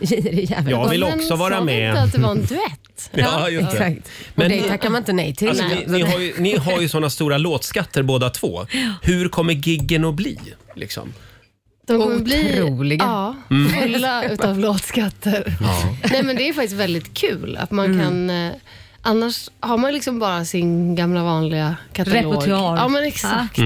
S12: girig. [laughs] girig jävel.
S1: Jag vill
S13: Men
S1: också vara
S13: sa vi
S1: med.
S13: inte att det var en duett?
S1: [laughs] Ja, just det.
S12: Exakt.
S1: Men
S12: och det
S1: ni-
S12: tackar man inte nej till.
S1: Alltså, ni, ni, har ju, ni har ju såna stora låtskatter båda två. Hur kommer giggen att bli? Liksom?
S13: De kommer bli
S12: Otroliga.
S13: Ja,
S1: Mm.
S13: fulla utav låtskatter. Nej, men det är faktiskt väldigt kul att
S2: Mm.
S13: man kan... Eh, annars har man liksom bara sin gamla vanliga katalog.
S2: Repertoar. Ah.
S13: Ja, men exakt.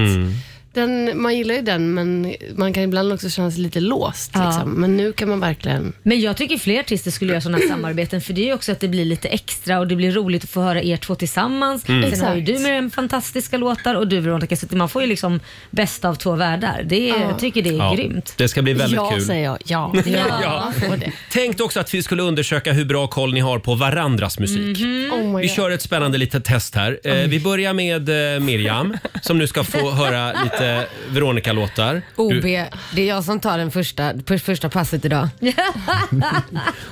S13: Den, man gillar ju den, men man kan ibland också känna sig lite låst.
S2: Ja.
S13: Liksom. Men nu kan man verkligen...
S2: Men jag tycker fler artister skulle göra sådana här samarbeten för det är ju också att det blir lite extra och det blir roligt att få höra er två tillsammans.
S13: Mm.
S2: Sen har ju
S13: Exakt.
S2: du med en fantastiska låtar och du Veronica, så att man får ju liksom bästa av två världar. Det, är- Jag tycker det är
S1: Ja,
S2: grymt.
S1: Det ska bli väldigt kul.
S13: jag. Ja.
S1: Ja. Tänk också att vi skulle undersöka hur bra koll ni har på varandras musik.
S13: Oh my
S1: Vi
S13: God.
S1: kör ett spännande litet test här. Eh, Vi börjar med eh, Miriam som nu ska få höra lite Veronica-låtar.
S12: OB,
S1: Du-
S12: det är jag som tar den första, för- första
S1: [laughs]
S12: passet idag.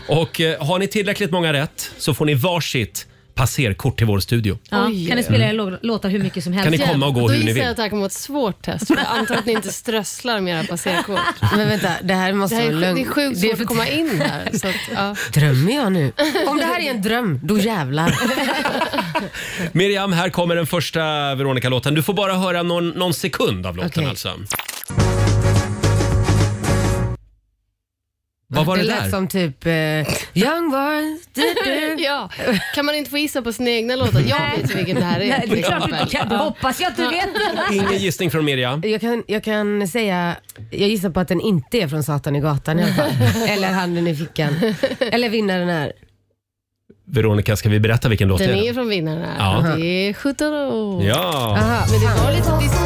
S1: Och eh, har ni tillräckligt många rätt så får ni varsitt passerkort till vår studio.
S2: Ja,
S13: Oj.
S2: kan ni spela era lå- låtar hur mycket som helst.
S1: Kan ni komma och gå
S13: Då
S1: hur ni
S13: gissar
S1: vill?
S13: jag att det här kommer vara ett svårt test. För jag antar att ni inte strösslar
S2: [laughs]
S13: med era passerkort.
S12: Men vänta, det här måste
S13: det, här är,
S12: vara lugnt.
S13: det är sjukt
S12: Det är
S13: svårt
S12: för-
S13: att komma in här. Så att, ja.
S12: Drömmer jag nu? Om det här är en dröm, då jävlar.
S1: Miriam, här kommer den första Veronica-låten. Du får bara höra någon, någon sekund av låten alltså. Vad var det,
S12: lät
S1: där?
S12: som typ eh, Young boy. Du, du.
S13: [laughs] ja. Kan man inte få gissa på sina egna låtar? Jag vet ju vilken det här är.
S12: Nej, det är klart
S13: till
S12: du inte
S13: exempel.
S12: kan.
S13: Ja.
S2: Hoppas jag att du vet.
S1: Ingen gissning från Miriam.
S12: Jag kan, jag kan säga, jag gissar på att den inte är från Satan i gatan i
S1: [laughs]
S12: alla fall. Eller Handen i fickan. Eller Vinnaren är.
S1: Veronica, ska vi berätta vilken låt
S13: Den
S1: det
S13: är
S1: är?
S13: från vinnaren här.
S1: Ja.
S13: Det är 17 år.
S1: Ja.
S12: Aha,
S13: men det var lite disco.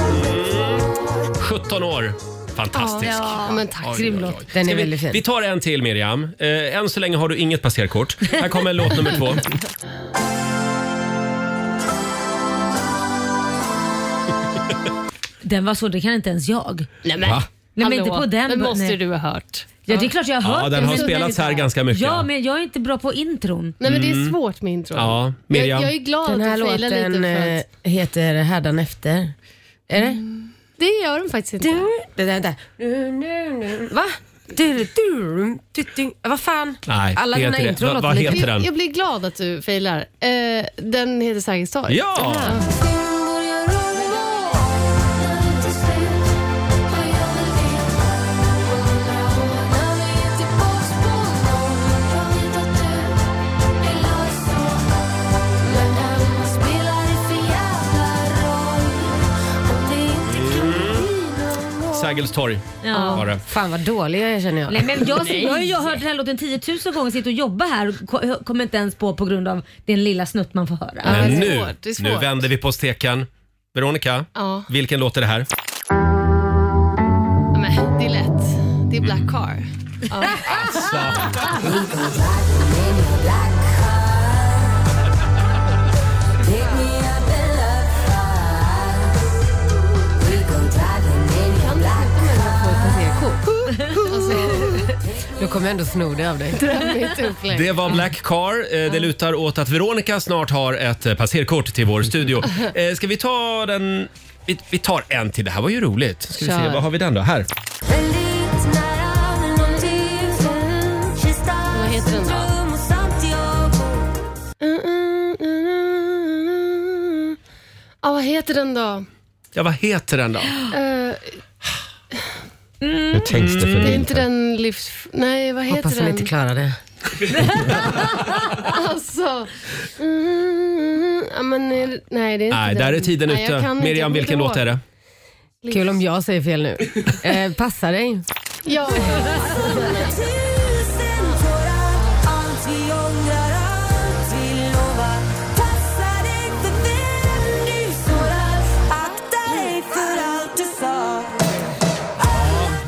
S1: Mm. 17 år. Fantastisk.
S13: Ja, men tack.
S1: Oj, oj, oj. Ska vi- Vi tar en till Miriam. Eh, än så länge har du inget passerkort. Här kommer låt nummer två.
S2: [laughs] Den var så, det kan inte ens jag.
S13: Nej
S1: men. Va?
S2: Nej, men
S13: Hallå,
S2: inte på den.
S13: den måste
S2: nej.
S13: du ha hört.
S2: Ja, det är klart jag har hört
S1: Ja, den har
S2: men-
S1: spelats här ganska mycket.
S2: Ja, men jag är inte bra på intron.
S13: Nej, men det
S1: Mm.
S13: är svårt med intro.
S1: Ja, Miriam.
S13: Jag, jag är glad
S12: Den här
S13: att du failar
S12: låten
S13: lite för
S12: eh,
S13: att...
S12: heter Härdan efter. Är det?
S13: Det gör den faktiskt inte.
S12: Det där, det där. Nu, nu, nu. Va? Du, du, du, du. Vad fan?
S1: Nej,
S12: Alla
S1: det
S12: dina
S1: heter det.
S12: intron
S1: Vad-
S12: låter
S1: vad
S12: lite-
S1: heter den?
S13: Jag blir glad att du failar. Eh, den heter Sergels torg.
S1: Ja! Sergels torg
S2: Ja.
S1: var det.
S12: Fan vad dålig jag är känner jag.
S2: Nej,
S1: [laughs]
S2: men jag, jag, har ju hört den här låten 10 000 gånger, sitter och jobbar här och ko- kommer inte ens på på grund av den lilla snutt man får höra.
S1: Men nu, nu vänder vi på steken. Veronica,
S13: Ja.
S1: vilken låt är det här?
S13: Ja, men, det är lätt. Det är Black Car. Ja.
S1: Alltså.
S13: [laughs]
S12: Då kommer jag ändå sno det av dig.
S1: Det var Black Car. Eh, Det lutar åt att Veronica snart har ett eh, passerkort till vår
S13: [laughs]
S1: studio. Eh, Ska vi ta den... Vi, vi tar en till. Det här var ju roligt. Ska vi se,
S8: Kör.
S1: vad har vi den då? Här.
S13: Vad heter den då? Ja, vad heter den
S1: Ja, vad heter den då?
S13: då? Eh,
S1: Nu tänks det
S13: Mm. det är inte den livs... Nej, vad heter
S12: Hoppas
S13: den?
S12: hon inte klarar det.
S13: [laughs] Alltså... Mm, ja, men, är det- nej, det är inte
S1: Nej,
S13: den.
S1: där är tiden
S13: Nej, jag
S1: ute.
S13: kan inte. Jag
S1: Miriam,
S13: kommer
S1: vilken
S13: inte
S1: låt är
S13: ihåg.
S1: det?
S12: Kul om jag säger fel [laughs] nu. Eh, passa dig.
S13: Ja.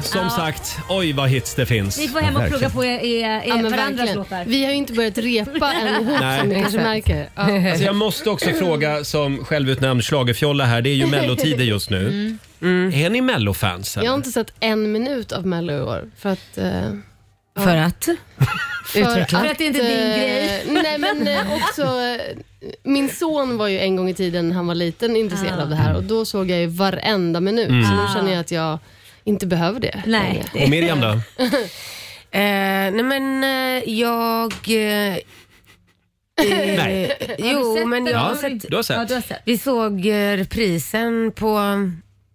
S1: Som sagt, oj vad hits det finns.
S13: Ni får hem och plugga
S2: på er, er,
S13: Ja, men
S2: varandras
S13: verkligen.
S2: låtar.
S13: Vi har ju inte börjat repa än ihop
S1: Nej.
S13: som ni kanske märker. Ja.
S1: Alltså jag måste också fråga som självutnämnd schlagerfjolla här. Det
S13: [laughs]
S1: är ju mellotider just nu.
S13: Mm.
S1: Är ni mellofans? eller?
S13: Jag har inte sett en minut av Mello i år. För att... eh, ja.
S12: För att? Utveckla.
S13: För att,
S12: För att det inte är din
S13: eh,
S12: grej.
S13: Nej, men eh, också... eh, Min son var ju en gång i tiden, när han var liten, intresserad av det här och då såg jag ju varenda minut.
S1: Mm.
S13: Så nu
S1: Ah.
S13: känner jag att jag inte behöver det Nej.
S1: Och Miriam då?
S12: [laughs] Eh, nej men eh, jag... Eh,
S2: [laughs]
S1: Nej.
S12: eh,
S2: Har du
S12: Jo,
S2: sett
S12: men
S2: den?
S12: jag
S2: Ja, du har sett. Ja, du har sett.
S12: Vi såg eh, reprisen på...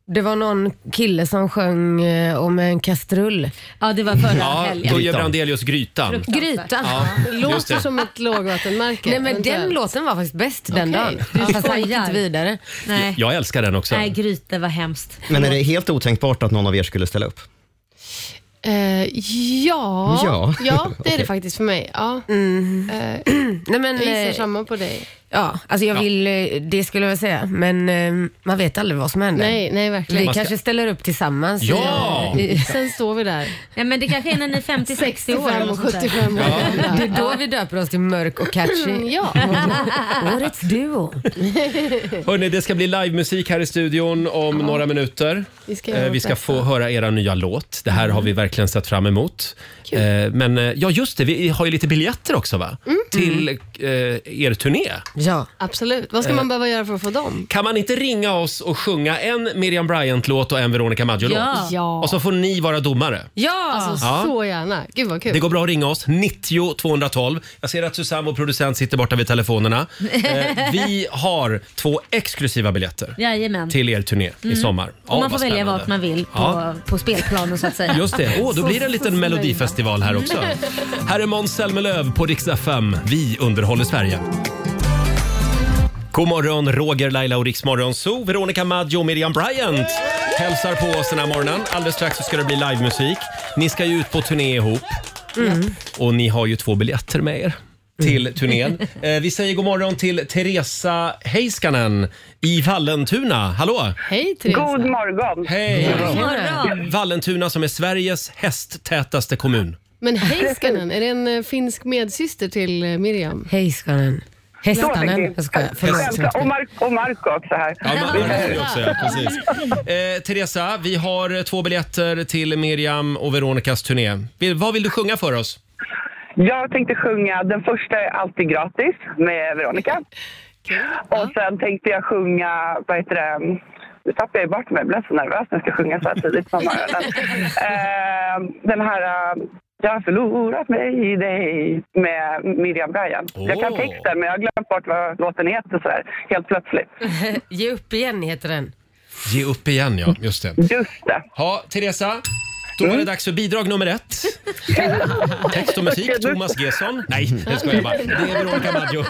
S12: Det var någon kille som sjöng eh, om en kastrull.
S2: Ja, det var förra
S1: Ja, Börje Brandelius Grytan.
S12: Gryta.
S13: [laughs]
S1: Ja, just det.
S12: ett lågvattenmärke. Nej, men den låten var faktiskt bäst den
S2: Okej.
S12: dagen.
S2: Du
S12: Fast han gick
S2: skojar.
S12: inte vidare.
S2: Nej.
S1: Jag älskar den också.
S2: Nej, Gryte var hemskt.
S3: Men är det helt otänkbart att någon av er skulle ställa upp?
S2: Ah,
S13: Eh, ja.
S12: [laughs]
S3: Ja.
S13: ja, det
S3: Okej.
S13: är det faktiskt för mig. Ja.
S12: [clears throat]
S13: Eh,
S12: Nej, men,
S13: jag gissar
S12: eh,
S13: samma på dig.
S12: Ja, alltså jag
S13: Ja.
S12: vill, eh, det skulle jag säga, men eh, man vet aldrig vad som händer.
S13: Nej, nej, verkligen.
S12: Vi
S13: Man ska-
S12: kanske ställer upp
S2: [laughs]
S12: tillsammans.
S13: Ja!
S12: Sen
S13: står vi där.
S2: Ja, men det kanske är när ni är 50-60 år. eller något sånt där.
S12: Det är då vi döper oss till mörk och catchy.
S13: Mm,
S12: [laughs]
S13: Ja.
S12: Årets duo.
S1: Hörrni, det ska bli livemusik här i studion om några minuter.
S13: Vi ska Mm.
S1: Eh,
S13: göra
S1: vi ska
S13: vårt
S1: få höra era nya låt. Det här har vi verkligen sett fram emot. Eh, men eh, ja, just det, vi har ju lite biljetter också va?
S13: Mm.
S1: Till eh, er turné.
S12: Ja.
S13: Absolut. Vad ska
S1: Eh.
S13: man behöva göra för att få dem?
S1: Kan man inte ringa oss och sjunga en Miriam Bryant-låt och en Veronica Maggio-låt?
S13: Ja. Ja.
S1: Och så får ni vara domare.
S12: Ja!
S13: Alltså,
S1: Ja.
S13: Så gärna. Gud vad kul.
S1: Det går bra att ringa oss, 90 212. Jag ser att Susanne, vår producent, sitter borta vid
S13: [laughs]
S1: telefonerna. Eh, vi har två exklusiva biljetter
S2: Jajamän.
S1: till er turné i
S2: Mm.
S1: sommar.
S2: och man
S1: vad
S2: får välja
S1: spännande.
S2: vart man vill på,
S1: Ja.
S2: på spelplanen så att säga.
S1: Just det. Åh, då blir det en liten melodifestival här också.
S2: Mm.
S1: Här är Måns Zelmerlöw på Rix FM. Vi underhåller Sverige. God morgon, Roger, Laila och Riksmorgon Zoo. Veronica Maggio och Miriam Bryant hälsar på oss den här morgonen. Alldeles strax så ska det bli livemusik. Ni ska ju ut på turné ihop och ni har ju två biljetter med er till turnén. Eh, vi säger god morgon till Teresa Heiskanen i Vallentuna. Hallå!
S13: Hej Therese.
S14: God morgon.
S1: Hej!
S13: God morgon.
S1: Vallentuna som är Sveriges hästtätaste kommun.
S13: Men Heiskanen, är det en eh, finsk medsyster till eh, Miriam?
S12: Heiskanen. Hästanen. Jag
S13: Eh,
S12: skojar. Förlåt.
S14: Och, Mar och Marco också här.
S1: Ja, man, man hör ju också, ja, precis. Eh, Teresa, vi har eh, två biljetter till Miriam och Veronicas turné. Vill, vad vill du sjunga för oss?
S14: Jag tänkte sjunga Den första är alltid gratis med Veronica. Och sen tänkte jag sjunga, vad heter det, nu tappade jag ju bort mig. Jag blev så nervös när jag ska sjunga så här tidigt på morgonen. Eh, den här eh, Jag har förlorat mig i dig med Miriam Bryant. Jag kan
S12: Åh.
S14: texten men jag har glömt bort vad låten heter så här, helt plötsligt.
S12: Ge upp igen heter den.
S1: Ge upp igen, ja. Just det. Mm.
S14: Just det.
S1: Ja, Teresa. Då var det dags för bidrag nummer ett. Text och musik, Thomas Gesson. Nej, det ska jag bara. Det är Veronica Maggio.
S2: [laughs]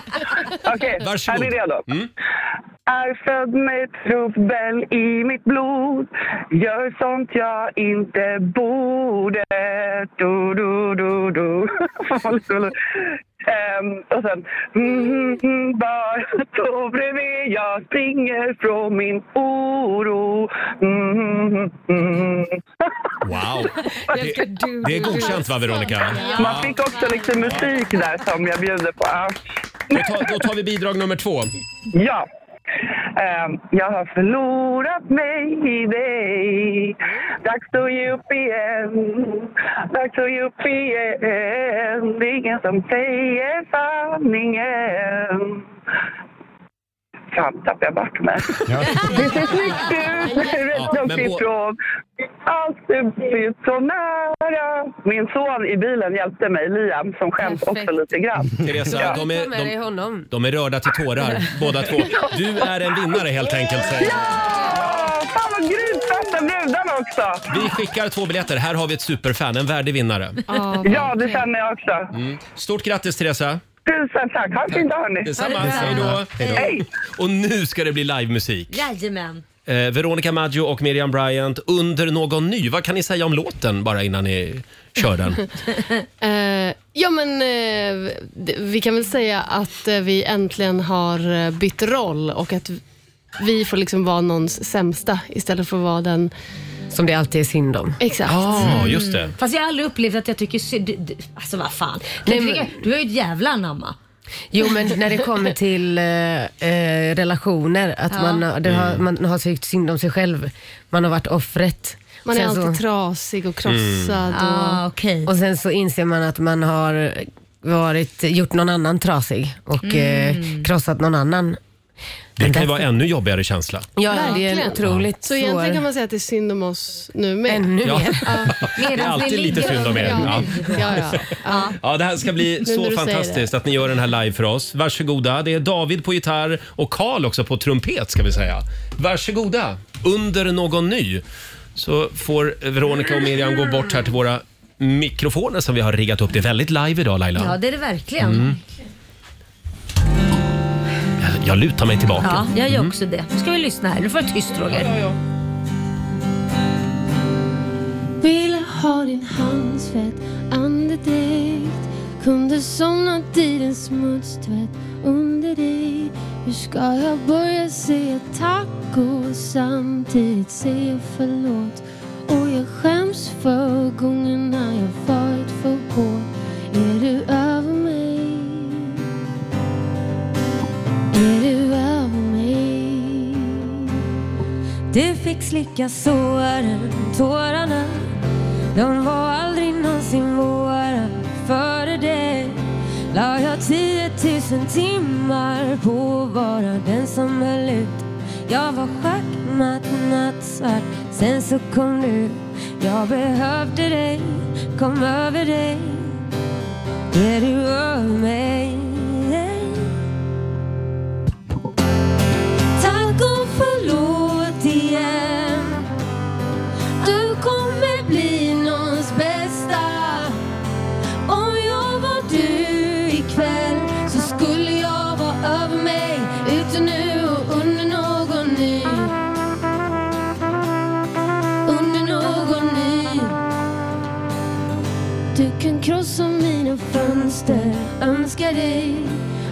S14: Okej,
S1: Varsågod.
S14: är ni redo?
S1: Mm.
S14: Är född med trubbel i mitt blod Gör sånt jag inte borde Du, du, du, du [laughs] Ehm, Och sen mm, mm, Bara stå bredvid Jag springer från min oro mm, mm.
S1: Wow.
S14: Jag älskar du,
S1: Det är
S14: du, du.
S1: godkänt va, Veronica?
S14: Man fick också lite musik där som jag bjuder på Ja.
S1: Då tar, då tar vi bidrag nummer två.
S14: Ja. Ehm, jag har förlorat mig i dig. Dags att ge upp igen. Dags att ge upp igen. Det är ingen som säger sanningen. Fan, tappade jag bort mig. Det ser snyggt ut, rätt
S8: Ja,
S14: långt
S8: men vår-
S14: ifrån. Allt är blivit så nära. Min son i bilen hjälpte mig, Liam, som skäms också lite grann.
S1: Teresa,
S14: Ja.
S1: de, är, de,
S12: honom.
S1: de är rörda till tårar båda två. Du är en vinnare helt enkelt. Säger. jag.
S14: Fan vad grymt! Bästa brudarna också!
S1: Vi skickar två biljetter. Här har vi ett superfan, en värdig vinnare.
S14: Ja, det känner jag också.
S1: Mm. Stort grattis Teresa!
S14: Tusen tack! Ha en fin dag hörni!
S1: Detsamma, hej då!
S14: Hej!
S1: Och nu ska det bli livemusik.
S2: [laughs] Jajamän.
S1: Eh, Veronica Maggio och Miriam Bryant, Under någon ny. Vad kan ni säga om låten bara innan ni kör
S13: [laughs]
S1: den?
S13: Eh, ja, men eh, d- vi kan väl säga att eh, vi äntligen har eh, bytt roll och att vi får liksom vara någons sämsta istället för att vara den...
S12: Som det alltid är synd om.
S13: Exakt. Mm.
S1: Ja, Ah, just det.
S2: Fast Alltså, jag har aldrig upplevt att jag tycker synd... du- du- Alltså vad fan.
S12: Nej,
S2: Nej,
S12: men-
S2: Du har ju ett jävla anamma.
S12: Jo, men när
S2: [laughs]
S12: det
S13: [laughs]
S12: kommer till eh, eh, relationer, att
S2: Ja.
S12: man, det har,
S2: Mm.
S12: man har tyckt synd om sig själv. Man har varit offret.
S13: Man är
S12: Sen
S13: alltid trasig och krossad.
S12: Mm.
S13: Och,
S12: Ah, Och sen så inser man att man har varit, gjort någon annan trasig och
S13: Mm.
S12: eh, krossat någon annan.
S1: Det kan ju vara ännu jobbigare känsla.
S12: Ja, det är
S13: Verkligen.
S12: en otroligt
S13: Så
S12: svår...
S13: egentligen kan man säga att det är synd om oss nu med.
S12: Ännu [laughs]
S1: Ja. mer. Det är alltid lite synd om er. Ja.
S13: Ja, ja. ja.
S1: Ja, det här ska bli
S13: Nu
S1: så
S13: när du säger
S1: fantastiskt att ni gör den här live för oss. Varsågoda. Det är David på gitarr och Karl också på trumpet ska vi säga. Varsågoda. Under någon ny så får Veronica och Miriam gå bort här till våra mikrofoner som vi har riggat upp. Det är väldigt live idag Laila.
S2: Ja, det är det verkligen.
S1: Mm. Jag, jag lutar mig tillbaka.
S2: Ja, jag gör också det. Nu ska vi lyssna här. Nu får jag tyst Roger.
S8: Vill ha din handsvett, andedräkt Kunde somnat i din smutstvätt under dig Hur ska jag börja säga tack och samtidigt säga förlåt? Och jag skäms för gångerna jag varit för hård Är du över mig? Är du över mig?
S15: Du fick slicka såren, tårarna De var aldrig någonsin våra Före dig la jag 10 000 timmar på att vara den som höll ut Jag var schackmatt, nattsvart Sen så kom du Jag behövde dig, kom över dig Är du över mig?
S8: Tack och förlåt igen Du kommer bli någons bästa Om jag var du ikväll så skulle jag vara över mig Ute nu och under någon ny Under någon ny
S15: Du kan krossa mina fönster Önskar dig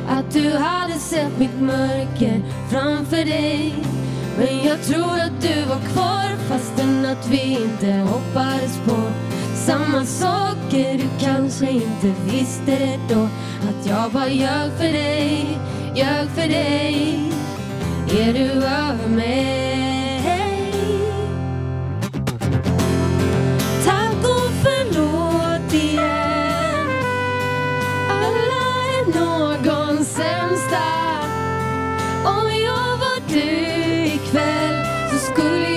S15: att du hade sett mitt mörker framför dig Men jag tror att du var kvar fastän att vi inte hoppades på samma saker Du kanske inte visste det då Att jag bara ljög för dig, ljög för dig Är du över mig?
S8: Tack och förlåt igen Alla är någons sämsta Om jag var du ikväll så skulle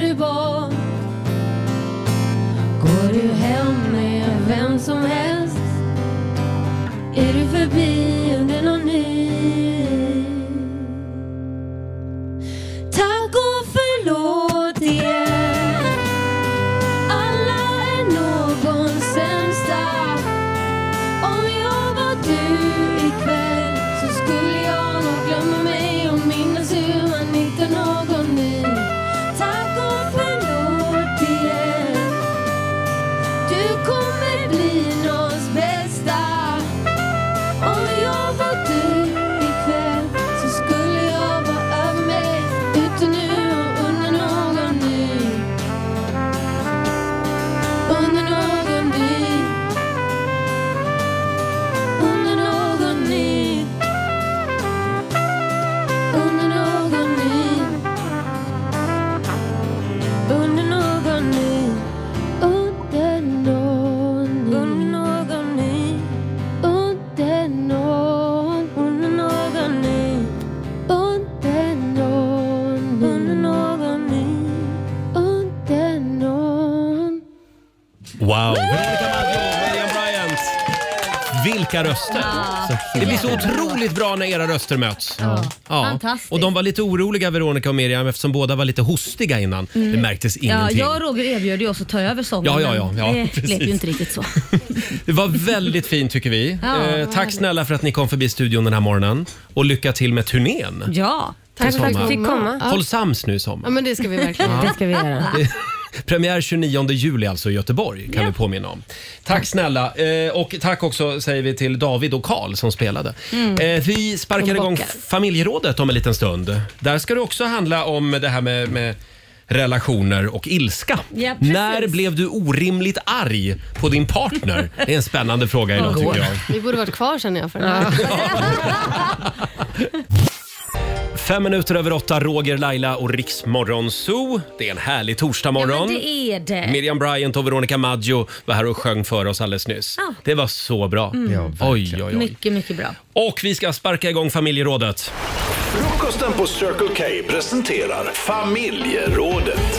S15: du bort. Går du hem med vem som helst? Är du förbi under någon ny? Tack och förlåt er. Alla är någons sämsta. Om jag var du ikväll så skulle jag nog glömma mig och minnas hur man hittar någon ny. Tack och förlåt er. Du kommer bli någons bästa. Om jag var du ikväll så skulle jag vara över mig ute nu och under någon ny. Under någon ny. Under någon ny. Under någon ny. Under någon ny. Under någon ny. Under någon ny. Under någon, under någon ny Under någon, under någon ny Under någon
S1: Wow! Veronica Maggio, William Bryant. Vilka röster!
S2: Ja,
S1: Det blir så
S2: jättebra.
S1: otroligt bra när era röster möts. Ja.
S2: Fantastiskt.
S1: Och de var lite oroliga Veronica och Miriam eftersom båda var lite hostiga innan.
S2: Mm.
S1: Det märktes
S2: Ja,
S1: ingenting.
S2: jag och Roger erbjöd ju oss att ta över sången.
S1: Ja, ja, ja,
S2: men
S1: ja,
S2: det
S1: precis.
S2: blev ju inte riktigt så.
S1: Det var väldigt fint tycker vi.
S2: Ja,
S1: eh,
S2: vad
S1: tack
S2: härligt.
S1: snälla för att ni kom förbi studion den här morgonen. Och lycka till med turnén.
S2: Ja,
S1: i sommar. Håll sams nu i sommar.
S13: Ja, men det ska vi verkligen
S1: Ja. Det
S13: ska vi göra.
S1: [laughs] Premiär 29 juli alltså i Göteborg kan vi påminna om. Tack snälla eh, och tack också säger vi till David och Karl som spelade.
S10: Mm.
S1: Eh, vi sparkar
S10: De
S1: igång
S10: bockar.
S1: familjerådet om en liten stund. Där ska det också handla om det här med, med relationer och ilska.
S2: [laughs] Ja, precis.
S1: När blev du orimligt arg på din partner? Det är en spännande fråga idag tycker jag.
S13: Vi borde varit kvar känner jag för den här.
S1: Fem minuter över åtta, Roger, Laila och Riksmorgon Zoo. Det är en härlig torsdagmorgon.
S2: Det är det.
S1: Miriam Bryant och Veronica Maggio var här och sjöng för oss alldeles nyss.
S2: Ja.
S1: Det var så bra.
S2: Mm. Ja,
S1: oj, oj, oj.
S2: Mycket, mycket bra.
S1: Och vi ska sparka igång familjerådet.
S5: Frukosten på Circle K presenterar Familjerådet.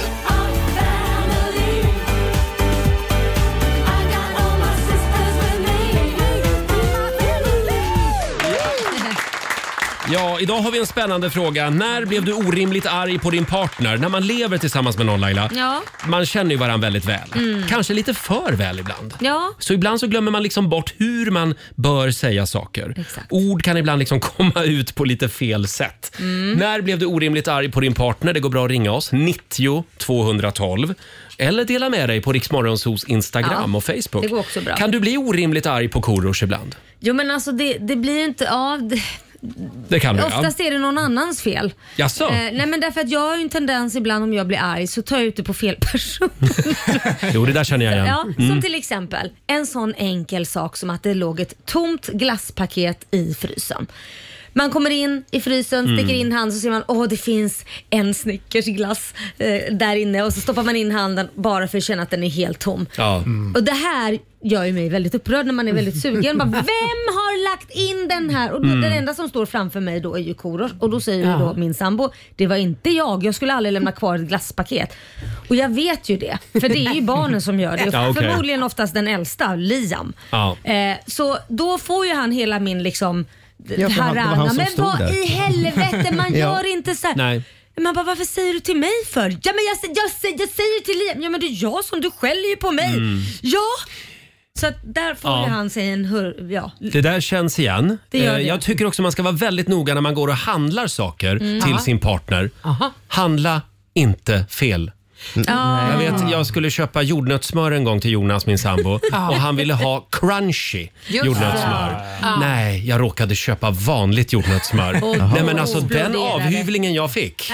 S1: Ja, idag har vi en spännande fråga. När blev du orimligt arg på din partner? När man lever tillsammans med någon Laila.
S2: Ja.
S1: Man känner ju varandra väldigt väl.
S2: Mm.
S1: Kanske lite för väl ibland.
S2: Ja,
S1: Så ibland så glömmer man liksom bort hur man bör säga saker. Ord kan ibland liksom [laughs] komma ut på lite fel sätt.
S2: Mm.
S1: När blev du orimligt arg på din partner? Det går bra att ringa oss. 90 212. Eller dela med dig på Riksmorgonsos Instagram
S2: Ja,
S1: och Facebook.
S2: det går också bra.
S1: Kan du bli orimligt arg på Korosh ibland?
S2: jo men alltså det, det blir ju inte av.
S1: Det kan du
S2: Oftast är det någon annans fel.
S1: Jaså?
S2: Eh, nej men därför att jag har ju en tendens ibland om jag blir arg så tar jag ut det på fel person.
S1: Jo, det där känner jag igen.
S2: [laughs] Ja,
S1: Mm.
S2: Som till exempel en sån enkel sak som att det låg ett tomt glasspaket i frysen. Man kommer in i frysen,
S15: Mm.
S2: sticker in handen så ser man åh det finns en Snickersglass eh, där inne och så stoppar man in handen bara för att känna att den är helt tom.
S1: Ja.
S2: Och det här gör ju mig väldigt upprörd när man är väldigt sugen. Bara, Vem har lagt in den här? Och då,
S15: Mm.
S2: den enda som står framför mig då är ju Korosh och då säger
S15: Ja.
S2: ju då min sambo, det var inte jag, jag skulle aldrig lämna kvar ett glasspaket. Och jag vet ju det, för det är ju barnen som gör det.
S15: [laughs] Ja, okej.
S2: Förmodligen oftast den äldsta, Liam.
S15: Ja.
S2: Eh, så då får ju han hela min liksom
S15: Ja, för han- det var han
S2: harang.
S15: som
S2: Men
S15: stod
S2: vad
S15: där.
S2: i helvete, man
S15: [laughs] Ja.
S2: gör inte så här.
S1: Nej.
S2: Man bara, varför säger du till mig för? Ja men jag, sä- jag, sä- jag säger till Liam, ja men det är jag som, du skäller ju på mig.
S1: Mm.
S2: Ja! Så att där får
S1: Ja.
S2: ju han sig en hur, ja.
S1: Det där känns igen.
S2: Det gör
S1: Eh,
S2: det.
S1: Jag tycker också man ska vara väldigt noga när man går och handlar saker
S2: Mm.
S1: till
S2: Ja.
S1: sin partner. Handla inte fel.
S2: Ah.
S1: Jag, vet, jag skulle köpa jordnötssmör en gång till Jonas, min sambo,
S2: [laughs] Ja.
S1: och han ville ha crunchy
S2: Just
S1: jordnötssmör.
S2: det. Ja.
S1: Nej, jag råkade köpa vanligt jordnötssmör.
S2: [laughs] Och
S1: Nej,
S2: då
S1: men alltså den
S2: exploderade.
S1: avhyvlingen jag fick.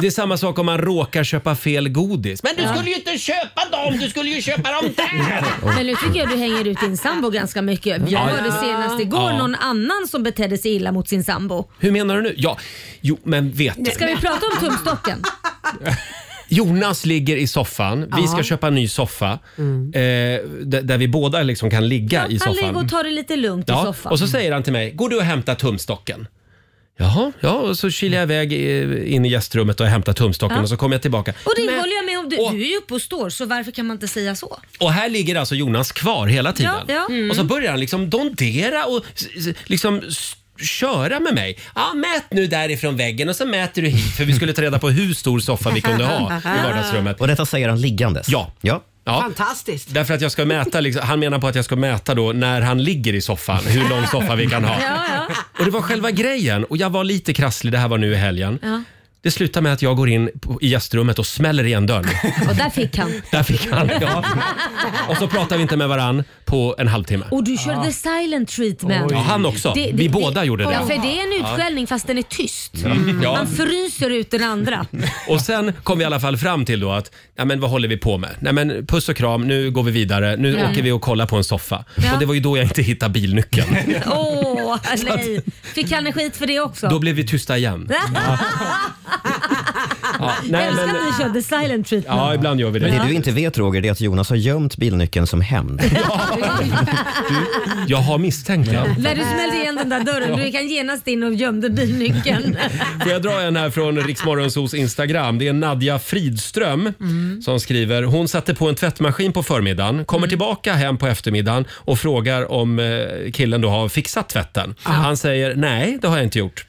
S1: Det är samma sak om man råkar köpa fel godis. Men du skulle ju inte köpa dem, du skulle ju köpa dem där!
S2: Men nu tycker jag du hänger ut din sambo ganska mycket. Jag
S1: Ja.
S2: hörde senast igår
S1: Ja.
S2: någon annan som betedde sig illa mot sin sambo.
S1: Hur menar du nu? Ja, jo, men vet du.
S2: Ska vi prata om tumstocken?
S1: Jonas ligger i soffan. Vi ska
S2: Ja. Mm.
S1: köpa en ny soffa eh, d- där vi båda liksom kan ligga i
S2: Han
S1: soffan.
S2: ligger och tar det lite lugnt i
S1: ja,
S2: soffan.
S1: och så säger han till mig, går du och hämtar tumstocken? Jaha, ja, och så kilade jag iväg eh, in i gästrummet och hämtade tumstocken
S2: Ja.
S1: och så kom jag tillbaka.
S2: Och det håller jag med om. Du, du är ju uppe och står, så varför kan man inte säga så?
S1: Och här ligger alltså Jonas kvar hela tiden.
S2: Ja, ja. Mm.
S1: Och så börjar han liksom dondera och s- s- liksom s- köra med mig. Ja, mät nu därifrån väggen och så mäter du hit för vi skulle ta reda på hur stor soffa vi kunde
S2: [laughs]
S1: ha i vardagsrummet.
S3: Och detta säger han liggandes?
S1: Ja.
S3: ja.
S1: ja.
S7: Fantastiskt.
S1: Därför att jag ska mäta, liksom, han menar på att jag ska mäta då när han ligger i soffan, hur
S2: [laughs]
S1: lång soffa vi kan ha. [laughs] Och det var själva grejen och jag var lite krasslig, det här var nu i helgen.
S2: Ja.
S1: Det slutar med att jag går in på- i gästrummet och smäller igen
S2: [laughs]
S1: dörren.
S2: Och där fick han.
S1: Där fick
S2: [laughs]
S1: han, ja. Och så pratar vi inte med varann på en halvtimme.
S2: Och du körde the silent treatment.
S1: Ja, han också. Vi båda gjorde det.
S2: Ja, för det är en
S1: Ja.
S2: utskällning fast den är tyst.
S1: Mm, ja.
S2: Man fryser ut den
S1: [laughs]
S2: andra.
S1: Och sen kom vi i alla fall fram till då att, ja men vad håller vi på med? Nej men puss och kram, nu går vi vidare, nu
S2: Ja.
S1: åker vi och kollar på en soffa.
S2: Ja.
S1: Och det var ju då jag inte hittade bilnyckeln.
S2: [laughs] Åh, nej. Fick han en skit för det också?
S1: Då blev vi tysta igen. Ja,
S2: Jag
S1: nej,
S2: älskar
S1: men,
S2: att ni körde silent treatment.
S1: ibland gör vi det.
S3: Men det
S1: Ja.
S3: du
S2: [laughs]
S3: inte vet Roger, det är att Jonas har gömt bilnyckeln som hämnd.
S1: Jag har misstänkt det.
S2: När du smällde igen den där dörren, du kan genast in och
S1: [laughs]
S2: gömde bilnyckeln.
S1: Får jag dra en här från Riksmorgonsos Instagram? Det är Nadja Fridström som skriver. Hon satte på en tvättmaskin på förmiddagen, kommer tillbaka hem på eftermiddagen och frågar om eh, killen då har fixat tvätten. Han säger nej, det har jag inte gjort.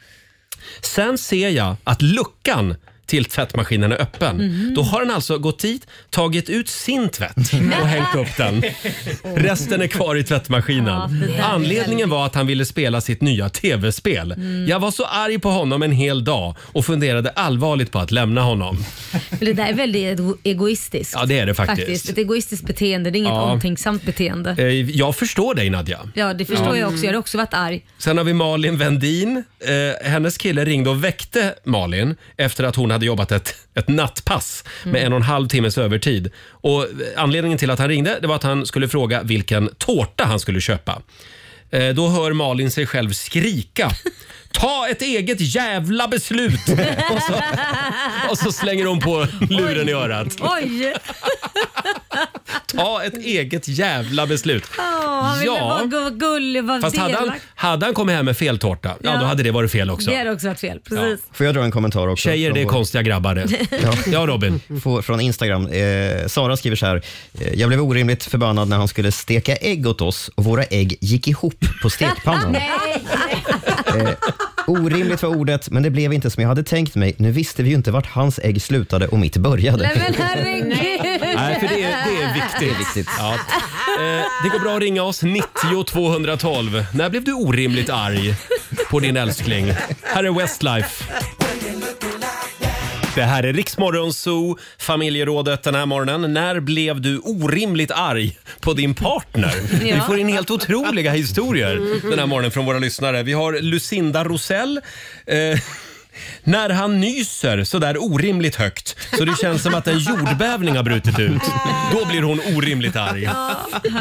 S1: Sen ser jag att luckan till tvättmaskinen är öppen.
S8: Mhm.
S1: Då har den alltså gått dit, tagit ut sin tvätt och hängt upp [laughs] den. Mm. Resten är kvar i
S8: Ja,
S1: tvättmaskinen.
S8: det där är
S1: Anledningen var att han ville spela sitt nya tv-spel.
S2: Mm.
S1: Jag var så arg på honom en hel dag och funderade allvarligt på att
S8: [laughs]
S1: lämna honom.
S2: Men det där är väldigt ego- egoistiskt.
S1: Ja, det är det faktiskt.
S2: Ett egoistiskt beteende, det är inget
S1: Ja.
S2: omtänksamt beteende.
S1: Eh, Jag förstår dig Nadja.
S2: Ja, det förstår
S1: Ja.
S2: jag också. Jag har också varit arg.
S1: Sen har vi Malin Vendin. Eh, hennes kille ringde och väckte Malin efter att hon hade jobbat ett, ett nattpass med
S8: Mm.
S1: en och en halv timmes övertid. Och eh, anledningen till att han ringde det var att han skulle fråga vilken tårta han skulle köpa. Eh, då hör Malin sig själv skrika. Ta ett eget jävla beslut! [laughs] och, så, och så slänger hon på luren i örat.
S2: Oj!
S1: Ta ett eget jävla beslut.
S2: Åh, han ville
S1: Ja.
S2: vara gu- gullig vara
S1: Fast hade han,
S2: delaktig.
S1: hade han kommit hem med fel tårta, ja,
S2: Ja.
S1: då hade det varit fel också.
S2: Det hade också varit fel. Precis.
S3: Får jag dra en kommentar också?
S1: Tjejer, det är konstiga
S3: [laughs]
S1: grabbar det. Ja, Robin.
S3: Från Instagram. Eh, Sara skriver så här. eh, Jag blev orimligt förbannad när han skulle steka ägg åt oss och våra ägg gick ihop
S8: [laughs]
S3: på stekpannan. Eh, orimligt var ordet, men det blev inte som jag hade tänkt mig. Nu visste vi ju inte vart hans ägg slutade och mitt började.
S8: Nej men herregud.
S1: Nej, för det är, det är viktigt.
S3: Det är viktigt.
S1: Ja. Eh, det går bra att ringa oss, 90 212. När blev du orimligt arg på din älskling? Här är Westlife. Det här är Riksmorgon Zoo, familjerådet den här morgonen. När blev du orimligt arg på din partner? Vi får in helt otroliga historier den här morgonen från våra lyssnare. Vi har Lucinda Rosell. Eh, när han nyser så där orimligt högt så det känns som att en jordbävning har brutit ut. Då blir hon orimligt arg.
S2: [laughs] Ja,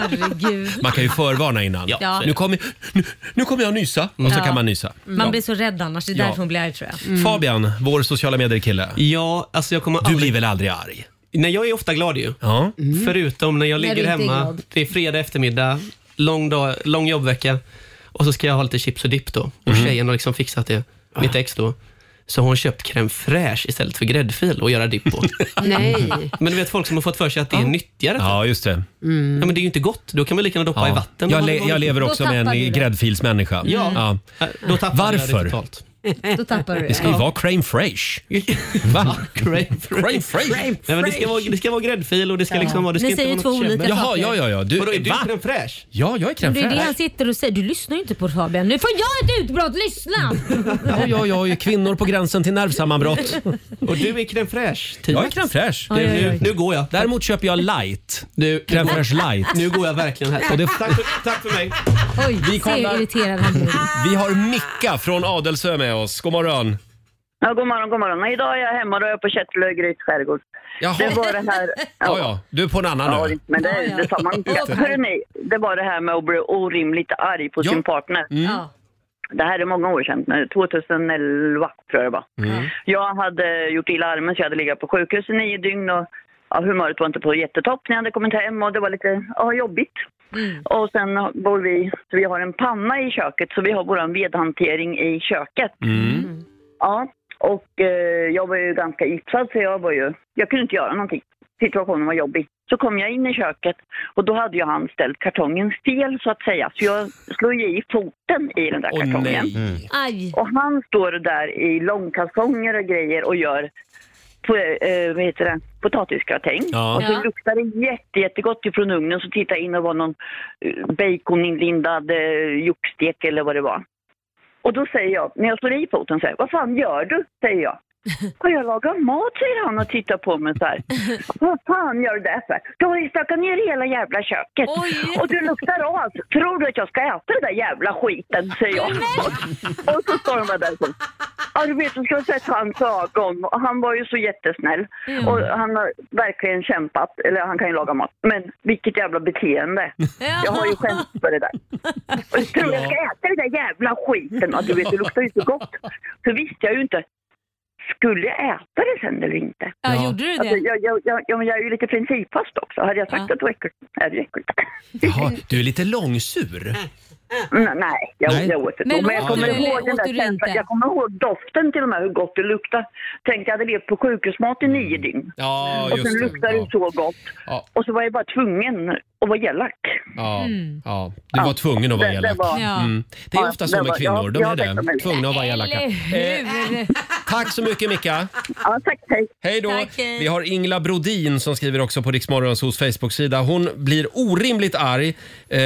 S2: herregud.
S1: Man kan ju förvarna innan.
S2: Ja, så är det. Mm.
S1: Nu, kommer, nu, nu kommer jag nysa och så
S2: Ja.
S1: kan man nysa.
S2: Man blir Mm. så rädd annars. Det är
S1: Ja.
S2: därför hon blir arg tror jag.
S1: Fabian, vår sociala medier-kille.
S10: Ja, alltså jag kommer
S1: Du blir väl aldrig arg?
S10: Nej, jag är ofta glad ju.
S1: Ja. Mm.
S10: Förutom när jag
S2: När du
S10: ligger
S2: inte är
S10: hemma.
S2: glad.
S10: Det är fredag eftermiddag, lång, dag, lång jobbvecka och så ska jag ha lite chips och dipp då. Och
S1: Mm.
S10: tjejen har liksom fixat det, mitt ex då. Så har hon köpt crème fraîche istället för gräddfil att göra dipp på.
S7: Nej.
S10: Men du vet folk som har fått för sig att det är nyttigare.
S1: Ja, just det.
S10: Mm. Ja, men det är ju inte gott. Då kan man lika gärna doppa i vatten.
S1: Jag, le- jag lever också med en i gräddfilsmänniska.
S10: Ja. Äh, Då tappade jag det
S1: Varför?
S10: totalt.
S2: Då tappar du
S1: Det ska ju
S10: Ja.
S1: vara crème fraîche. Va?
S10: crème
S1: fraîche?
S10: Nej, men det, ska vara, det ska vara gräddfil och det ska
S2: Ja.
S10: liksom vara... Det ska
S2: Ni
S10: inte
S2: säger
S10: vara
S2: två
S10: något
S2: olika
S10: käbbel.
S2: Jaha, saker. ja, ja, ja. Du-
S10: Vadå, är du
S1: va?
S10: crème fraîche?
S1: Ja, jag är crème
S2: Men det är det han
S1: fraîche.
S2: sitter och säger. Du lyssnar ju inte på Fabian. Nu får jag ett utbrott. Lyssna!
S1: Oj, oj, oj. Kvinnor på gränsen till nervsammanbrott.
S10: Och du är crème fraîche? Tim.
S1: Jag är crème fraîche.
S10: Det- Typ. Nu, nu går jag.
S1: Däremot köper jag light.
S10: Du,
S1: crème fraîche light.
S10: Nu går jag verkligen här.
S1: Och det-
S10: tack, för, tack för mig.
S2: Oj,
S1: Vi
S2: se
S1: kollar.
S2: hur irriterad han blir.
S1: Vi har Micka från Adelsö med oss. God morgon.
S16: Ja, god morgon, god morgon. Nej, idag är jag hemma då är jag på Kättlögryts skärgård.
S1: Jaha.
S16: Det var det här...
S1: [laughs] Ja, ja. Du är på en annan
S16: Ja,
S1: nu.
S16: men det, det sa man inte. Hörrni, det var det här med att bli orimligt arg på sin partner.
S1: Mm.
S16: Det här är många år sedan, eh, 2011 tror jag det var.
S1: Mm.
S16: Jag hade gjort illa armen så jag hade legat på sjukhus i nio dygn och ja, humöret var inte på jättetopp när jag hade kommit hem och det var lite ja, jobbigt.
S2: Mm.
S16: Och sen har- bor vi, så vi har en panna i köket så vi har vår vedhantering i köket.
S1: Mm.
S16: Ja, och eh, jag var ju ganska gipsad så jag var ju, jag kunde inte göra någonting. Situationen var jobbig. Så kom jag in i köket och då hade ju han ställt kartongen fel så att säga. Så jag slog ju i foten i den där kartongen. Och han står där i långkalsonger och grejer och gör på, eh, vad heter det? potatisgratäng.
S8: Ja.
S16: Och så
S8: Ja.
S16: luktar det jätte, jättegott ifrån ugnen. Så tittade jag in och var någon eh, baconinlindad eh, hjortstek eller vad det var. Och då säger jag, när jag slår i foten så här, vad fan gör du? Säger jag. Och jag lagar mat, säger han och tittar på mig så här. Vad fan gör du det för? Du har ju stökat ner i hela jävla köket. [laughs] Och du luktar av. Tror du att jag ska äta den där jävla skiten, säger jag. [laughs] Och, och så står de bara där så. Ja, du vet, du ska ha sett hans ögon. Och han var ju så jättesnäll.
S8: Mm.
S16: Och han har verkligen kämpat. Eller han kan ju laga mat. Men vilket jävla beteende. Jag har ju skämt för det där. Och jag tror jag ska äta den där jävla skiten. Och du vet, det luktar ju så gott. Så visste jag ju inte. Skulle jag äta det sen eller inte?
S2: Ja, gjorde du det?
S16: Alltså, jag, jag, jag, jag, men jag är ju lite principfast också. Hade jag sagt att det var äckligt, är det äckligt.
S1: Jaha, du är lite långsur.
S16: Mm, nej, jag,
S1: Nej.
S16: jag åt det.
S1: Men
S16: Men, men jag
S1: åt
S16: kommer
S1: du eller
S16: ihåg den där känslan. Jag kommer ihåg doften till och med, hur gott det luktade. Tänk, jag hade levt på sjukhusmat i nio dygn.
S1: Mm. Ja,
S16: och
S1: just
S16: sen
S1: det.
S16: luktade det så gott. Och så var jag bara tvungen att vara elak.
S1: Ja,
S16: Mm.
S1: ja. Du var tvungen att vara
S16: Det- det
S1: elak.
S16: var-
S1: Mm. Det är
S16: Ja,
S1: ofta
S16: det
S1: så med
S16: var-
S1: kvinnor,
S16: jag-
S1: de
S16: jag
S1: är
S16: har tänkt på
S1: det.
S16: mig.
S1: Tvungna att vara elaka. Eh, tack så mycket Micka.
S16: Ja, tack, hej.
S1: Hej då.
S16: Tack, hej.
S1: Vi har Ingla Brodin som skriver också på Riksmorgons hos Facebook-sida. Hon blir orimligt arg. Eh,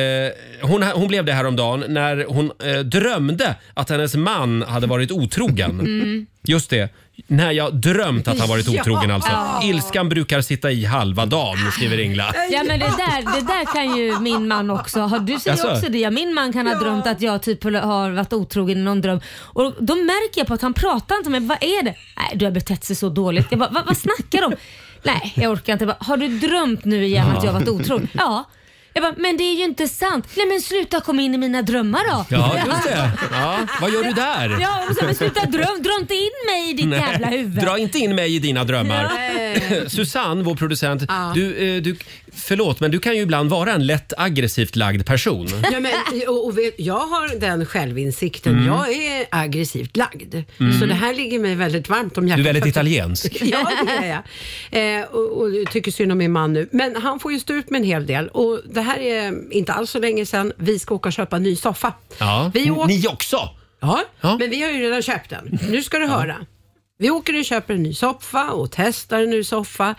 S1: hon, hon blev det här om dagen när hon eh, drömde att hennes man hade varit otrogen.
S8: Mm.
S1: Just det. När jag drömt att han
S7: [laughs]
S1: varit
S2: Ja.
S1: otrogen alltså.
S2: Ja.
S1: Ilskan brukar sitta i halva dagen, skriver Ingla.
S2: Ja men det där, det där kan ju min man också. Har, du säger
S1: Jaså?
S2: också det. Ja, min man kan ha drömt att jag typ har varit otrogen i någon dröm. Och då märker jag på att han pratar inte med mig. Vad är det? Nej, du har betett sig så dåligt. Jag bara, vad, vad snackar de? Nej, jag orkar inte. Jag bara, har du drömt nu igen att jag har varit otrogen? Ja. Jag bara, men det är ju inte sant. Nej men sluta komma in i mina drömmar då.
S1: Ja, just det. Ja. Vad gör du där?
S2: Ja, och så, men sluta dröm. Dra inte in mig i
S1: [laughs]
S2: ditt
S1: Nej,
S2: jävla huvud.
S1: Dra inte in mig i dina drömmar.
S2: Nej.
S1: [laughs] Susanne, vår producent,
S7: Ja.
S1: du, eh, du, förlåt men du kan ju ibland vara en lätt aggressivt lagd person.
S7: [laughs] Ja, men, och, och vet, jag har den självinsikten.
S1: Mm.
S7: Jag är aggressivt lagd.
S1: Mm.
S7: Så det här ligger mig väldigt varmt om hjärtat.
S1: Du är väldigt italiensk.
S7: [laughs] Ja, det är jag. Eh, och, och jag tycker synd om min man nu. Men han får ju stå ut med en hel del. Och det här är inte alls så länge sedan. Vi ska åka och köpa en ny soffa.
S1: Ja.
S7: Vi åker-
S1: Ni också?
S7: Ja, men vi har ju redan köpt den. Nu ska du höra. Vi åker och köper en ny soffa och testar en ny soffa.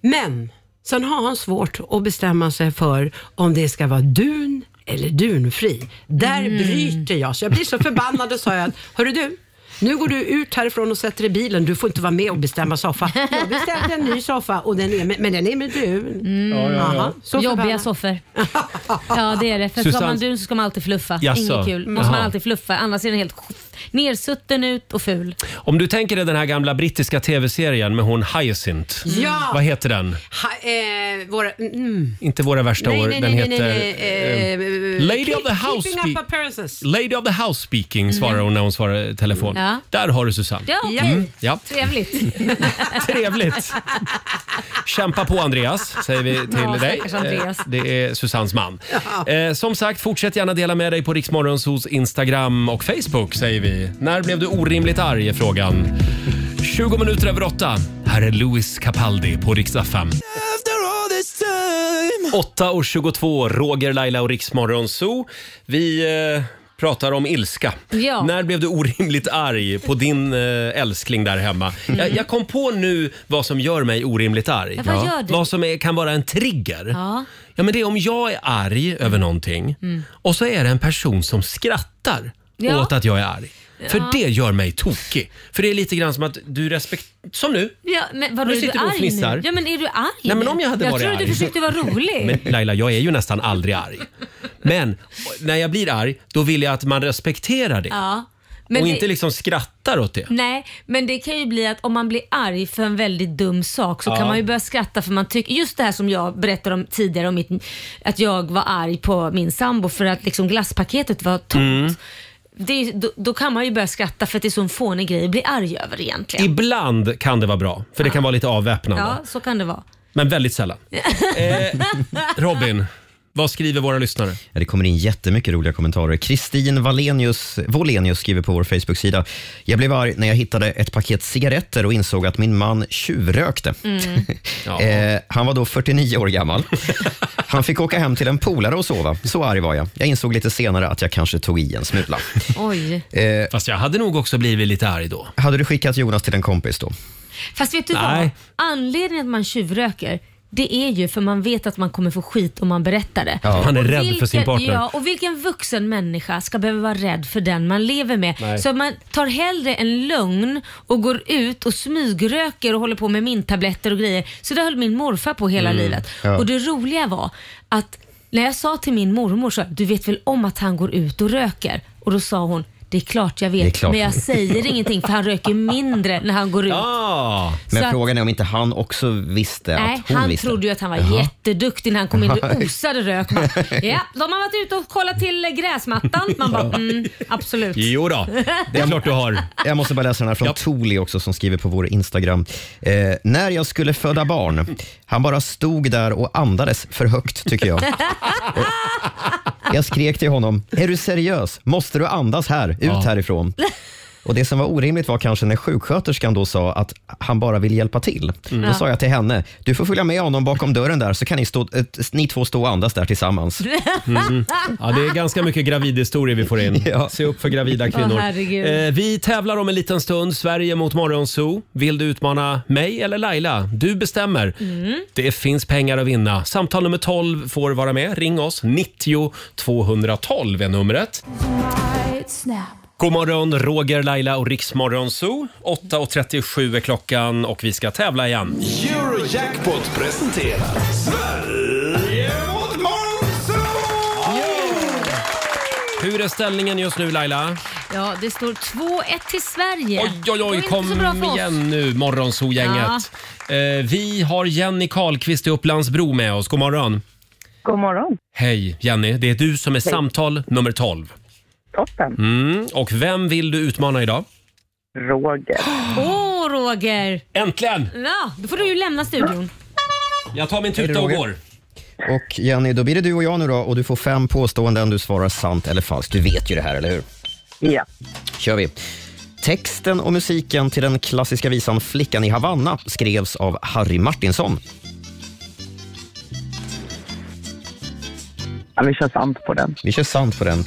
S7: Men sen har han svårt att bestämma sig för om det ska vara dun eller dunfri. Där bryter jag, så jag blir så förbannad och sa jag att, hörru du, nu går du ut härifrån och sätter dig i bilen. Du får inte vara med och bestämma [laughs] soffa. Jag bestämde en ny soffa, och den är med, men den är med dun.
S1: Ja, ja, ja.
S7: Aha, så
S2: Mm. Jobbiga
S7: förbannad. [laughs]
S2: soffor. Ja det är det. För ska
S1: Susanne-
S2: man dun så ska man alltid fluffa.
S1: Jaså?
S2: Inget kul. Måste
S1: Jaha.
S2: man alltid fluffa annars är den helt nersutten ut och ful.
S1: Om du tänker dig den här gamla brittiska tv-serien med hon Hyacinth.
S7: Ja.
S1: Vad heter den?
S7: Ha, eh, våra, mm.
S1: Inte Våra värsta år. den heter... eh,
S7: eh,
S1: Lady
S7: keep-
S1: of the House
S7: Keeping
S1: Be-
S7: up appearances.
S1: Lady of the House speaking svarar hon när hon svarar telefon.
S2: Mhm. Ja.
S1: Där har du Susanne.
S2: Ja, okej.
S1: Mm, ja.
S2: Trevligt.
S1: [laughs] Trevligt. Kämpa på Andreas, säger vi till
S2: Ja,
S1: dig.
S2: stackars Andreas.
S1: Eh, Det är Susans man. Eh, som sagt, fortsätt gärna dela med dig på Riksmorgonsos Instagram och Facebook säger vi. När blev du orimligt arg? är frågan. 20 minuter över åtta. Här är Louis Capaldi på riksdag 5. 8 och 22, Roger, Laila och Riksmorgonso. Vi eh, pratar om ilska.
S2: Ja.
S1: När blev du orimligt arg på din eh, älskling där hemma? Jag, jag kom på nu vad som gör mig orimligt arg.
S2: Mm. Ja, vad gör du?
S1: Vad som är, kan vara en trigger.
S2: Ja.
S1: Ja, men det är om jag är arg över någonting
S2: Mm.
S1: och så är det en person som skrattar
S2: Ja.
S1: åt att jag är arg. För
S2: Ja.
S1: det gör mig tokig. För det är lite grann som att du respekterar... Som nu.
S2: Ja, men vadå,
S1: Nu
S2: är du
S1: sitter du och
S2: arg
S1: fnissar.
S2: nu? Ja men är du arg
S1: Nej, men
S2: nu?
S1: om jag hade
S2: jag
S1: varit
S2: trodde
S1: arg
S2: du
S1: så-
S2: försökte vara rolig.
S1: Men Laila, jag är ju nästan aldrig arg. Men när jag blir arg, då vill jag att man respekterar det.
S2: Ja. Men
S1: och
S2: det- Mm.
S1: inte liksom skrattar åt det.
S2: Nej, men det kan ju bli att om man blir arg för en väldigt dum sak så
S1: Ja.
S2: kan man ju börja skratta för man tycker, just det här som jag berättade om tidigare om mitt, att jag var arg på min sambo för att liksom glasspaketet var tomt.
S1: Mm.
S2: Det, är- då, då kan man ju börja skratta för att det är så en fånig grej att bli arg över egentligen.
S1: Ibland kan det vara bra, för det kan vara lite avväpnande.
S2: Ja, så kan det vara.
S1: Men väldigt sällan. eh, Robin, Vad skriver våra lyssnare?
S3: Ja, det kommer in jättemycket roliga kommentarer. Kristin Wallenius, Wallenius skriver på vår Facebook-sida. Jag blev arg när jag hittade ett paket cigaretter och insåg att min man tjuvrökte. [laughs]
S8: Mm.
S3: eh, han var då 49 år
S1: [laughs]
S3: gammal. Han fick åka hem till en polare och sova. Så arg var jag. Jag insåg lite senare att jag kanske tog i en
S1: [laughs]
S3: smula.
S2: [laughs]
S3: Eh,
S2: Oj.
S1: Fast jag hade nog också blivit lite arg då.
S3: Hade du skickat Jonas till en kompis då?
S2: Fast vet du
S3: Nej.
S2: vad? Anledningen att man tjuvröker det är ju för man vet att man kommer få skit om man berättar det.
S1: Ja. Man är
S2: Och
S1: rädd för sin partner.
S2: Ja, och vilken vuxen människa ska behöva vara rädd för den man lever med?
S1: Nej.
S2: Så man tar hellre en lögn och går ut och smygröker och håller på med mintabletter och grejer. Så det höll min morfar på hela
S15: Mm.
S2: livet.
S15: Ja.
S2: Och det roliga var att när jag sa till min mormor så här, du vet väl om att han går ut och röker? Och då sa hon, det är klart jag
S3: Det är
S2: vet,
S3: klart.
S2: men jag säger ingenting för han röker mindre när han går ut.
S3: Men
S2: Så att-
S3: frågan är om inte han också visste
S2: Nej,
S3: att hon
S2: han
S3: visste.
S2: trodde ju att han var
S3: Jaha.
S2: jätteduktig när han kom
S1: [laughs]
S2: in och
S3: Nej.
S2: osade rök. Man,
S3: [laughs]
S2: ja, de har varit ute och kollat till gräsmattan. Man bara, mm, absolut.
S1: Jo
S2: [laughs]
S1: då, det är klart du har.
S3: Jag måste bara läsa den här från Toli också som skriver på vår Instagram. Eh, när jag skulle föda barn, han bara stod där och andades för högt tycker jag. Eh, Jag skrek till honom, är du seriös? Måste du andas här? Ut härifrån. Och Det som var orimligt var kanske när sjuksköterskan då sa att han bara vill hjälpa till. Då
S1: Mm.
S8: Ja.
S3: sa jag till henne, du får följa med honom bakom dörren där så kan ni, stå, eh, ni två stå och andas där tillsammans.
S1: [laughs] Mm. Ja, det är ganska mycket gravidhistorier vi får in. Se upp för gravida
S2: Åh,
S1: kvinnor.
S2: herregud.
S1: Eh, vi tävlar om en liten stund. Sverige mot Morgonzoo. Vill du utmana mig eller Laila? Du bestämmer.
S2: Mm.
S1: Det finns pengar att vinna. Samtal nummer 12 får vara med. Ring oss. 90 212 är numret. God morgon, Roger, Laila och Riksmorgon Zoo. 8.37 är klockan och vi ska tävla igen.
S5: Eurojackpot presenterar Sverige mot
S1: Hur är ställningen just nu Laila?
S2: Ja, det står 2-1 till Sverige.
S1: Oj, oj,
S2: Det var
S1: oj,
S2: inte så bra
S1: kom
S2: för oss.
S1: igen nu Morgonzoo-gänget. Eh, vi har Jenny Karlqvist i Upplandsbro med oss. God morgon.
S6: God morgon.
S1: Hej Jenny, det är du som är
S6: Hej.
S1: samtal nummer 12.
S6: Toppen.
S1: Mm. Och vem vill du utmana idag?
S6: Roger.
S2: Åh, Roger!
S1: Äntligen!
S2: Ja, då får du ju lämna studion.
S1: Jag tar min tuta och
S3: Roger.
S1: går.
S3: Och Jenny, då blir det du och jag nu då och du får fem påståenden. Du svarar sant eller falskt. Du vet ju det här, eller hur?
S6: Ja.
S3: kör vi. Texten och musiken till den klassiska visan Flickan i Havanna skrevs av Harry Martinson.
S6: vi kör sant på den.
S3: Vi kör sant på den.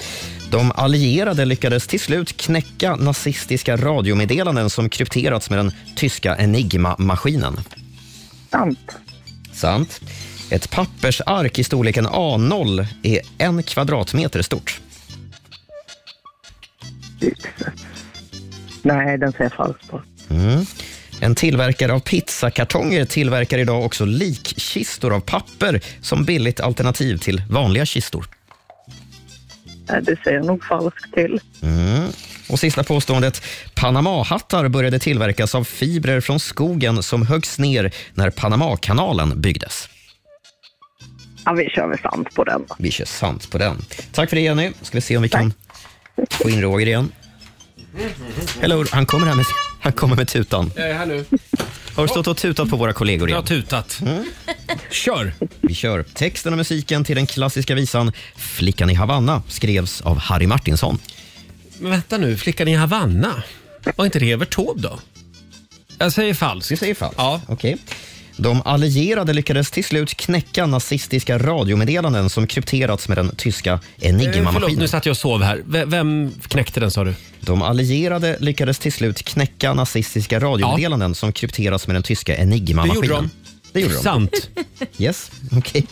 S3: De allierade lyckades till slut knäcka nazistiska radiomeddelanden som krypterats med den tyska Enigma-maskinen.
S6: Sant.
S3: Sant. Ett pappersark i storleken A0 är en kvadratmeter stort.
S6: Nej, den säger falskt på.
S3: Mm. En tillverkare av pizzakartonger tillverkar idag också likkistor av papper som billigt alternativ till vanliga kistor.
S6: Nej, det säger jag nog falskt till.
S3: Mm. Och sista påståendet. Panamahattar började tillverkas av fibrer från skogen som höggs ner när Panamakanalen byggdes.
S6: Ja, vi kör väl sant på den.
S3: Vi kör sant på den. Tack för det, Jenny. Ska vi se om vi kan få in Roger igen. Hello. Han kommer här med, han kommer med tutan.
S10: Jag är här nu.
S3: Har du stått och tutat på våra kollegor igen?
S1: Jag har tutat.
S3: Mm.
S1: Kör!
S3: Vi kör. Texten och musiken till den klassiska visan Flickan i Havanna skrevs av Harry Martinson.
S1: Men vänta nu, Flickan i Havanna? Var inte det Evert Taube då? Jag säger falskt.
S3: Du säger falskt? Ja. Okej. De allierade lyckades till slut knäcka nazistiska radiomeddelanden som krypterats med den tyska
S1: Eh, förlåt,
S3: Enigma-maskinen.
S1: nu satt jag och sov här. V- vem knäckte den sa du?
S3: De allierade lyckades till slut knäcka nazistiska radiomeddelanden som krypterats med den tyska Enigma-maskinen.
S1: Det gjorde de.
S3: Det gjorde de. [laughs]
S1: Sant.
S3: Yes, okej.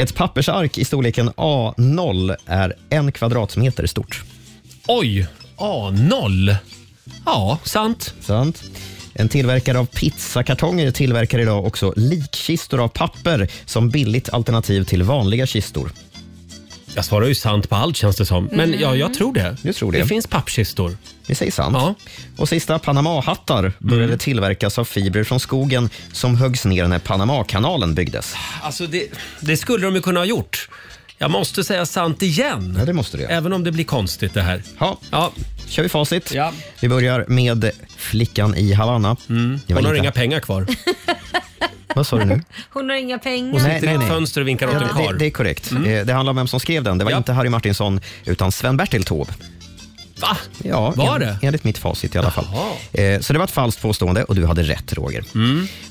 S3: Ett pappersark i storleken A0 är en kvadratmeter stort.
S1: Oj! A0? Ja, sant.
S3: Sant. En tillverkare av pizzakartonger tillverkar idag också likkistor av papper som billigt alternativ till vanliga kistor.
S1: Jag svarar ju sant på allt känns det som. Men ja, jag tror det.
S3: Du tror det.
S1: Det finns pappkistor.
S3: Vi säger sant. Och sista, Panamahattar började
S1: Mm.
S3: tillverkas av fibrer från skogen som höggs ner när Panamakanalen byggdes.
S1: Alltså det, det skulle de ju kunna ha gjort. Jag måste säga sant igen. Eh, Ja,
S3: det måste du
S1: Även om det blir konstigt det här.
S3: Ja.
S1: ja.
S3: kör vi facit.
S1: Ja.
S3: Vi börjar med flickan i Havanna. Mm.
S1: Hon har inga pengar kvar.
S3: [laughs] Vad sa du nu?
S2: Hon har inga pengar.
S3: Ja, det- Det, det är korrekt.
S1: Mm.
S3: Eh, Det handlar om vem som skrev den. Det var inte Harry Martinsson, utan Sven-Bertil Taube.
S1: Va?
S3: Ja,
S1: Var
S3: en-
S1: det?
S3: enligt mitt facit i alla fall. Eh, Så det var ett falskt påstående och du hade rätt, Roger.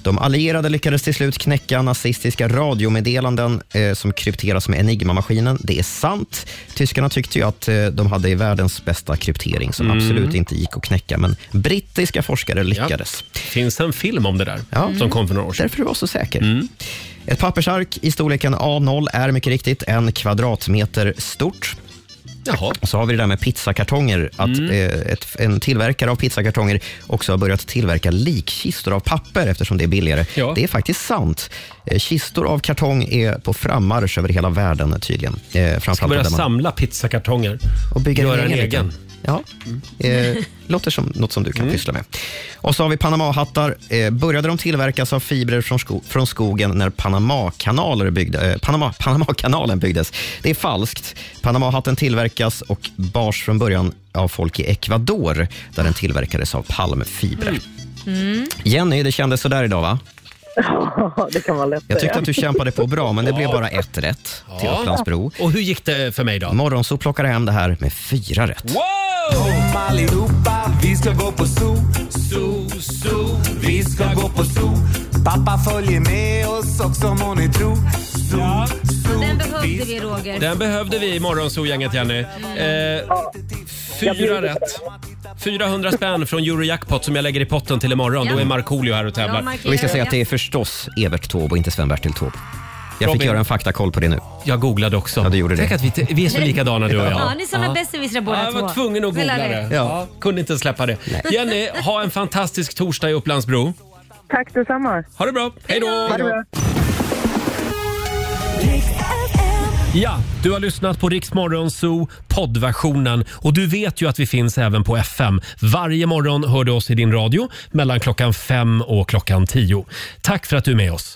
S3: De allierade lyckades till slut knäcka nazistiska radiomeddelanden eh, som krypteras med Enigma-maskinen. Det är sant. Tyskarna tyckte ju att eh, de hade världens bästa kryptering som
S1: Mm.
S3: absolut inte gick att knäcka, men brittiska forskare lyckades.
S1: Finns en film om det där som kom för några år sedan. Mm.
S3: Därför du var så säker. Ett pappersark i storleken A0 är mycket riktigt en kvadratmeter stort.
S1: Jaha. Mm.
S3: Och så har vi det där med pizzakartonger. Att eh, ett, en tillverkare av pizzakartonger också har börjat tillverka likkistor av papper eftersom det är billigare. Det är faktiskt sant. Eh, Kistor av kartong är på frammarsch över hela världen tydligen. Eh,
S1: Ska
S3: framförallt
S1: börja
S3: där man-
S1: samla pizzakartonger.
S3: Och bygga
S1: Göra
S3: en egen.
S1: egen.
S3: Ja. Eh, låter som något som du kan
S1: Mm.
S3: pyssla med. Och så har vi Panama-hattar. Eh, började de tillverkas av fibrer från, sko- från skogen när Panama-kanaler byggde, eh, Panama- Panama-kanalen byggdes? Det är falskt. Panama-hatten tillverkas och bars från början av folk i Ecuador där den tillverkades av palmfibrer.
S8: Mm.
S3: Jenny, det kändes sådär idag va?
S6: Ja, [laughs] det kan vara lätt
S3: Jag tyckte att du kämpade på bra, men det blev bara ett rätt till
S1: Ja.
S3: Upplandsbro.
S1: Och hur gick det för mig då?
S3: Morgon så plockar jag hem det här med fyra rätt.
S8: Kom allihopa, vi ska gå på zoo, zoo, zoo. Vi ska gå på zoo. Pappa följer med oss också om hon är tro. Zoo, zoo.
S2: Den behövde vi
S1: [laughs]
S2: Roger.
S1: Den behövde vi i Morgonzoo-gänget, Jenny. Eh, fyra rätt. 400 spänn från Eurojackpot som jag lägger i potten till imorgon. Då är Markoolio här och
S2: Bra,
S1: tävlar.
S2: Mark.
S3: Och vi ska säga att det är förstås Evert Taube och inte Sven-Bertil Taube. Jag
S1: Robin.
S3: fick göra en faktakoll på det nu.
S1: Jag googlade också.
S3: Ja, du gjorde
S1: Tänk
S3: det.
S1: att vi, vi är så likadana du och jag.
S2: Ja, ni är såna besserwissrar båda
S1: Ja, jag
S2: två.
S1: var tvungen att googla
S2: Snälla
S1: det.
S2: dig.
S1: Ja. Kunde inte släppa det. Jenny, ha en fantastisk torsdag i Upplandsbro.
S6: Tack detsamma.
S1: Ha det bra. Hej då!
S6: Ha det bra.
S1: Ja, du har lyssnat på Rix Morgon Zoo poddversionen och du vet ju att vi finns även på FM. Varje morgon hör du oss i din radio mellan klockan fem och klockan tio. Tack för att du är med oss.